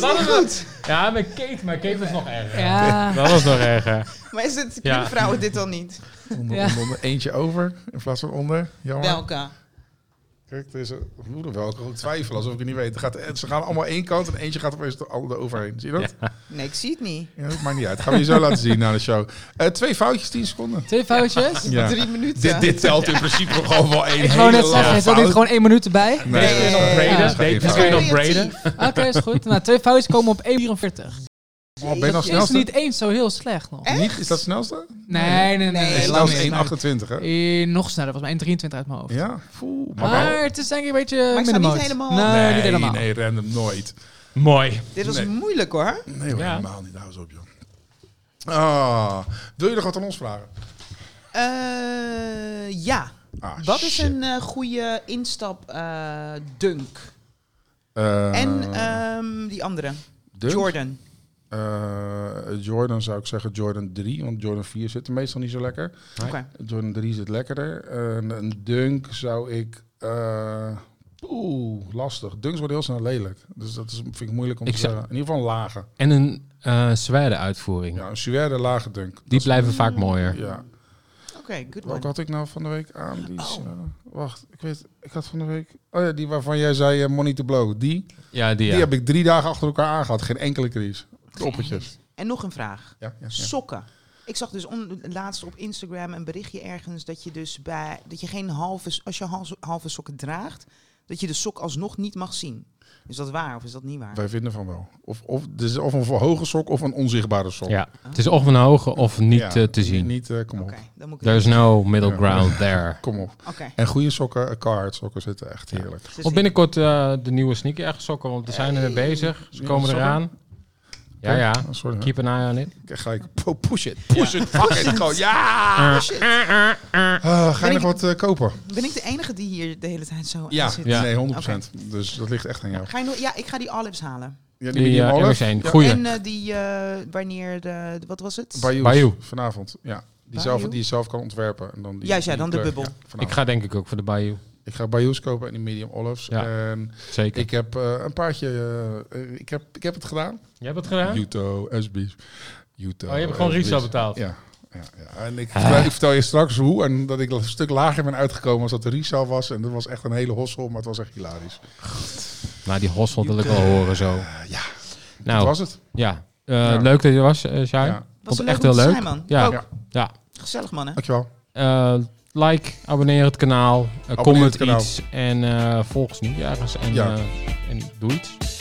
B: is niet goed. Ja, met Kate. Maar Kate was nog erger.
D: Ja.
B: Dat was nog erger.
C: Maar is het,
B: Ja.
C: kunnen vrouwen dit dan niet?
A: Onder,
D: Ja.
A: onder, onder. Eentje over in plaats van onder. Jammer.
C: Welke?
A: Kijk, er is een moeder wel. Ik ook twijfelen alsof ik het niet weet. Het gaat, eh, ze gaan allemaal één kant en eentje gaat opeens de andere overheen. Zie je dat? Ja.
C: Nee, ik zie het niet.
A: dat maakt niet uit. Dat gaan we je zo laten zien na de show. Eh, twee foutjes, tien seconden.
D: Twee foutjes.
A: Ja.
C: Drie minuten.
A: Dit, dit telt in principe gewoon wel één
D: Ik wou
A: hele
D: net zeggen,
A: lange
D: is dat
A: fout.
D: niet gewoon één minuut erbij?
A: Nee,
B: Deze kun je nog
C: Ja.
B: braden.
A: Ja.
B: Deze kun je nog braden.
D: Oké, is goed. Nou, twee foutjes komen op 1,44.
A: Oh, ben je dan
D: Dat is
A: snelste?
D: niet eens zo heel slecht nog.
C: Echt?
A: Niet? Is dat snelste?
D: Nee, nee, nee.
C: Nee,
A: Nee,
D: lang
A: snelste
D: niet.
A: 1,28 hè?
D: Eh, nog sneller, was maar 1,23 uit mijn hoofd.
A: Ja, voel. Maar wel-
D: Maar het is denk ik een beetje
C: Maar ik sta niet
D: middenmoot.
C: helemaal-
D: Nee, niet helemaal.
A: Nee, random nooit.
B: Mooi.
C: Dit was
A: Nee.
C: moeilijk hoor.
A: Nee hoor,
B: Ja.
A: helemaal niet. Hou eens op, joh. Ah, wil je nog wat aan ons vragen?
C: Eh, ja.
A: Ah,
C: Wat is
A: shit.
C: een eh, goede instap eh, dunk?
A: Eh,
C: en ehm, die andere,
A: Dunk?
C: Jordan.
A: Eh, Jordan zou ik zeggen Jordan 3, want Jordan 4 zit er meestal niet zo lekker.
C: Oké.
A: Jordan 3 zit lekkerder. Eh, een- een dunk zou ik... eh Oeh, lastig. Dunks worden heel snel lelijk. Dus dat is, vind ik moeilijk om
B: Ik
A: te
B: zou-
A: zeggen. In ieder geval een lage.
B: En een eh zwaarde uitvoering.
A: Ja, een suède lage dunk. Dat
B: Die
A: is-
B: blijven vaak mooier.
A: Ja.
C: Oké, good one.
A: Wat had ik nou van de week aan? Die is, eh, wacht, ik weet, ik had van de week... Oh ja, die waarvan jij zei eh, Money to Blow. Die,
B: Ja, die, ja.
A: die heb ik drie dagen achter elkaar aangehad. Geen enkele crisis. Toppetjes.
C: En nog een vraag.
A: Ja, ja, ja.
C: Sokken. Ik zag dus on, laatst op Instagram een berichtje ergens dat je dus bij dat je geen halve s- als je hals- halve sokken draagt, dat je de sok alsnog niet mag zien. Is dat waar of is dat niet waar?
A: Wij vinden van wel. Of, of, dus of een hoge sok of een onzichtbare sok.
B: Ja, het is of een hoge of niet
A: Ja,
B: eh, te zien.
A: Niet, eh, kom
C: Oké,
A: op.
C: dan moet ik.
B: There's no middle
A: Ja.
B: ground
A: (laughs)
B: there.
A: Kom op.
C: Oké. Dus
A: En goede sokken, eh, carhartt sokken zitten echt heerlijk.
C: ze
B: Of
C: zien.
B: binnenkort eh, de nieuwe sneaker ergens sokken, want we zijn er bezig. Ze
A: Nieuwe
B: komen
A: sokken?
B: eraan. Ja, ja.
A: Oh, sorry.
B: Keep an eye on it.
A: Ik ga ik po- push it, push it, fuck it. Gewoon, ja!
B: Ah,
A: Ah, ga je nog wat eh, kopen?
C: Ben ik de enige die hier de hele tijd zo aan
A: Ja,
C: zit?
A: ja. nee, 100%. Dus dat ligt echt aan jou.
C: Ga je nog, ja, ik ga die olives halen.
A: Ja,
B: Die
A: medium
B: uh,
A: olive?
B: zijn goeie.
C: En eh, die eh, wanneer de, de- wat was het?
A: Bayous,
B: Bayou.
A: vanavond. Ja, die,
C: Bayou?
A: zelf, die je zelf kan ontwerpen. En dan die,
C: Juist, ja,
A: die
C: dan de
A: kleur.
C: bubbel.
B: ik
A: vanavond.
B: ga denk ik ook voor de Bayou.
A: Ik ga Bayous kopen en die medium olives.
B: Ja.
A: En
B: Zeker.
A: ik heb eh, een paardje... eh, eh, ik, heb, ik heb het gedaan.
B: Jij hebt het gedaan?
A: Juto, SB's. Juto,
B: Oh, je hebt gewoon
A: SB's.
B: resale betaald. Ah.
A: Ja. Ja, ja. En ik, vertel- ik vertel je straks hoe en dat ik een stuk lager ben uitgekomen als dat de resale was. En dat was echt een hele hossel, maar het was echt hilarisch.
B: Nou, die hossel wil ik wel horen zo.
A: ja. Dat
B: Nou,
A: was het.
B: ja. Eh,
A: Ja.
B: Leuk dat je er was, eh Shai.
A: Ja.
C: Was het
B: Vond echt
C: leuk
B: heel
C: om te
B: leuk.
C: zijn, man.
B: Ja.
C: Ook.
A: Ja.
B: Ja.
C: Gezellig man, hè?
A: Dankjewel.
B: Eh, like, abonneer het kanaal, eh,
A: het
B: comment
A: kanaal.
B: iets en eh volg ons nu ergens en,
A: Ja.
B: eh, en doe iets.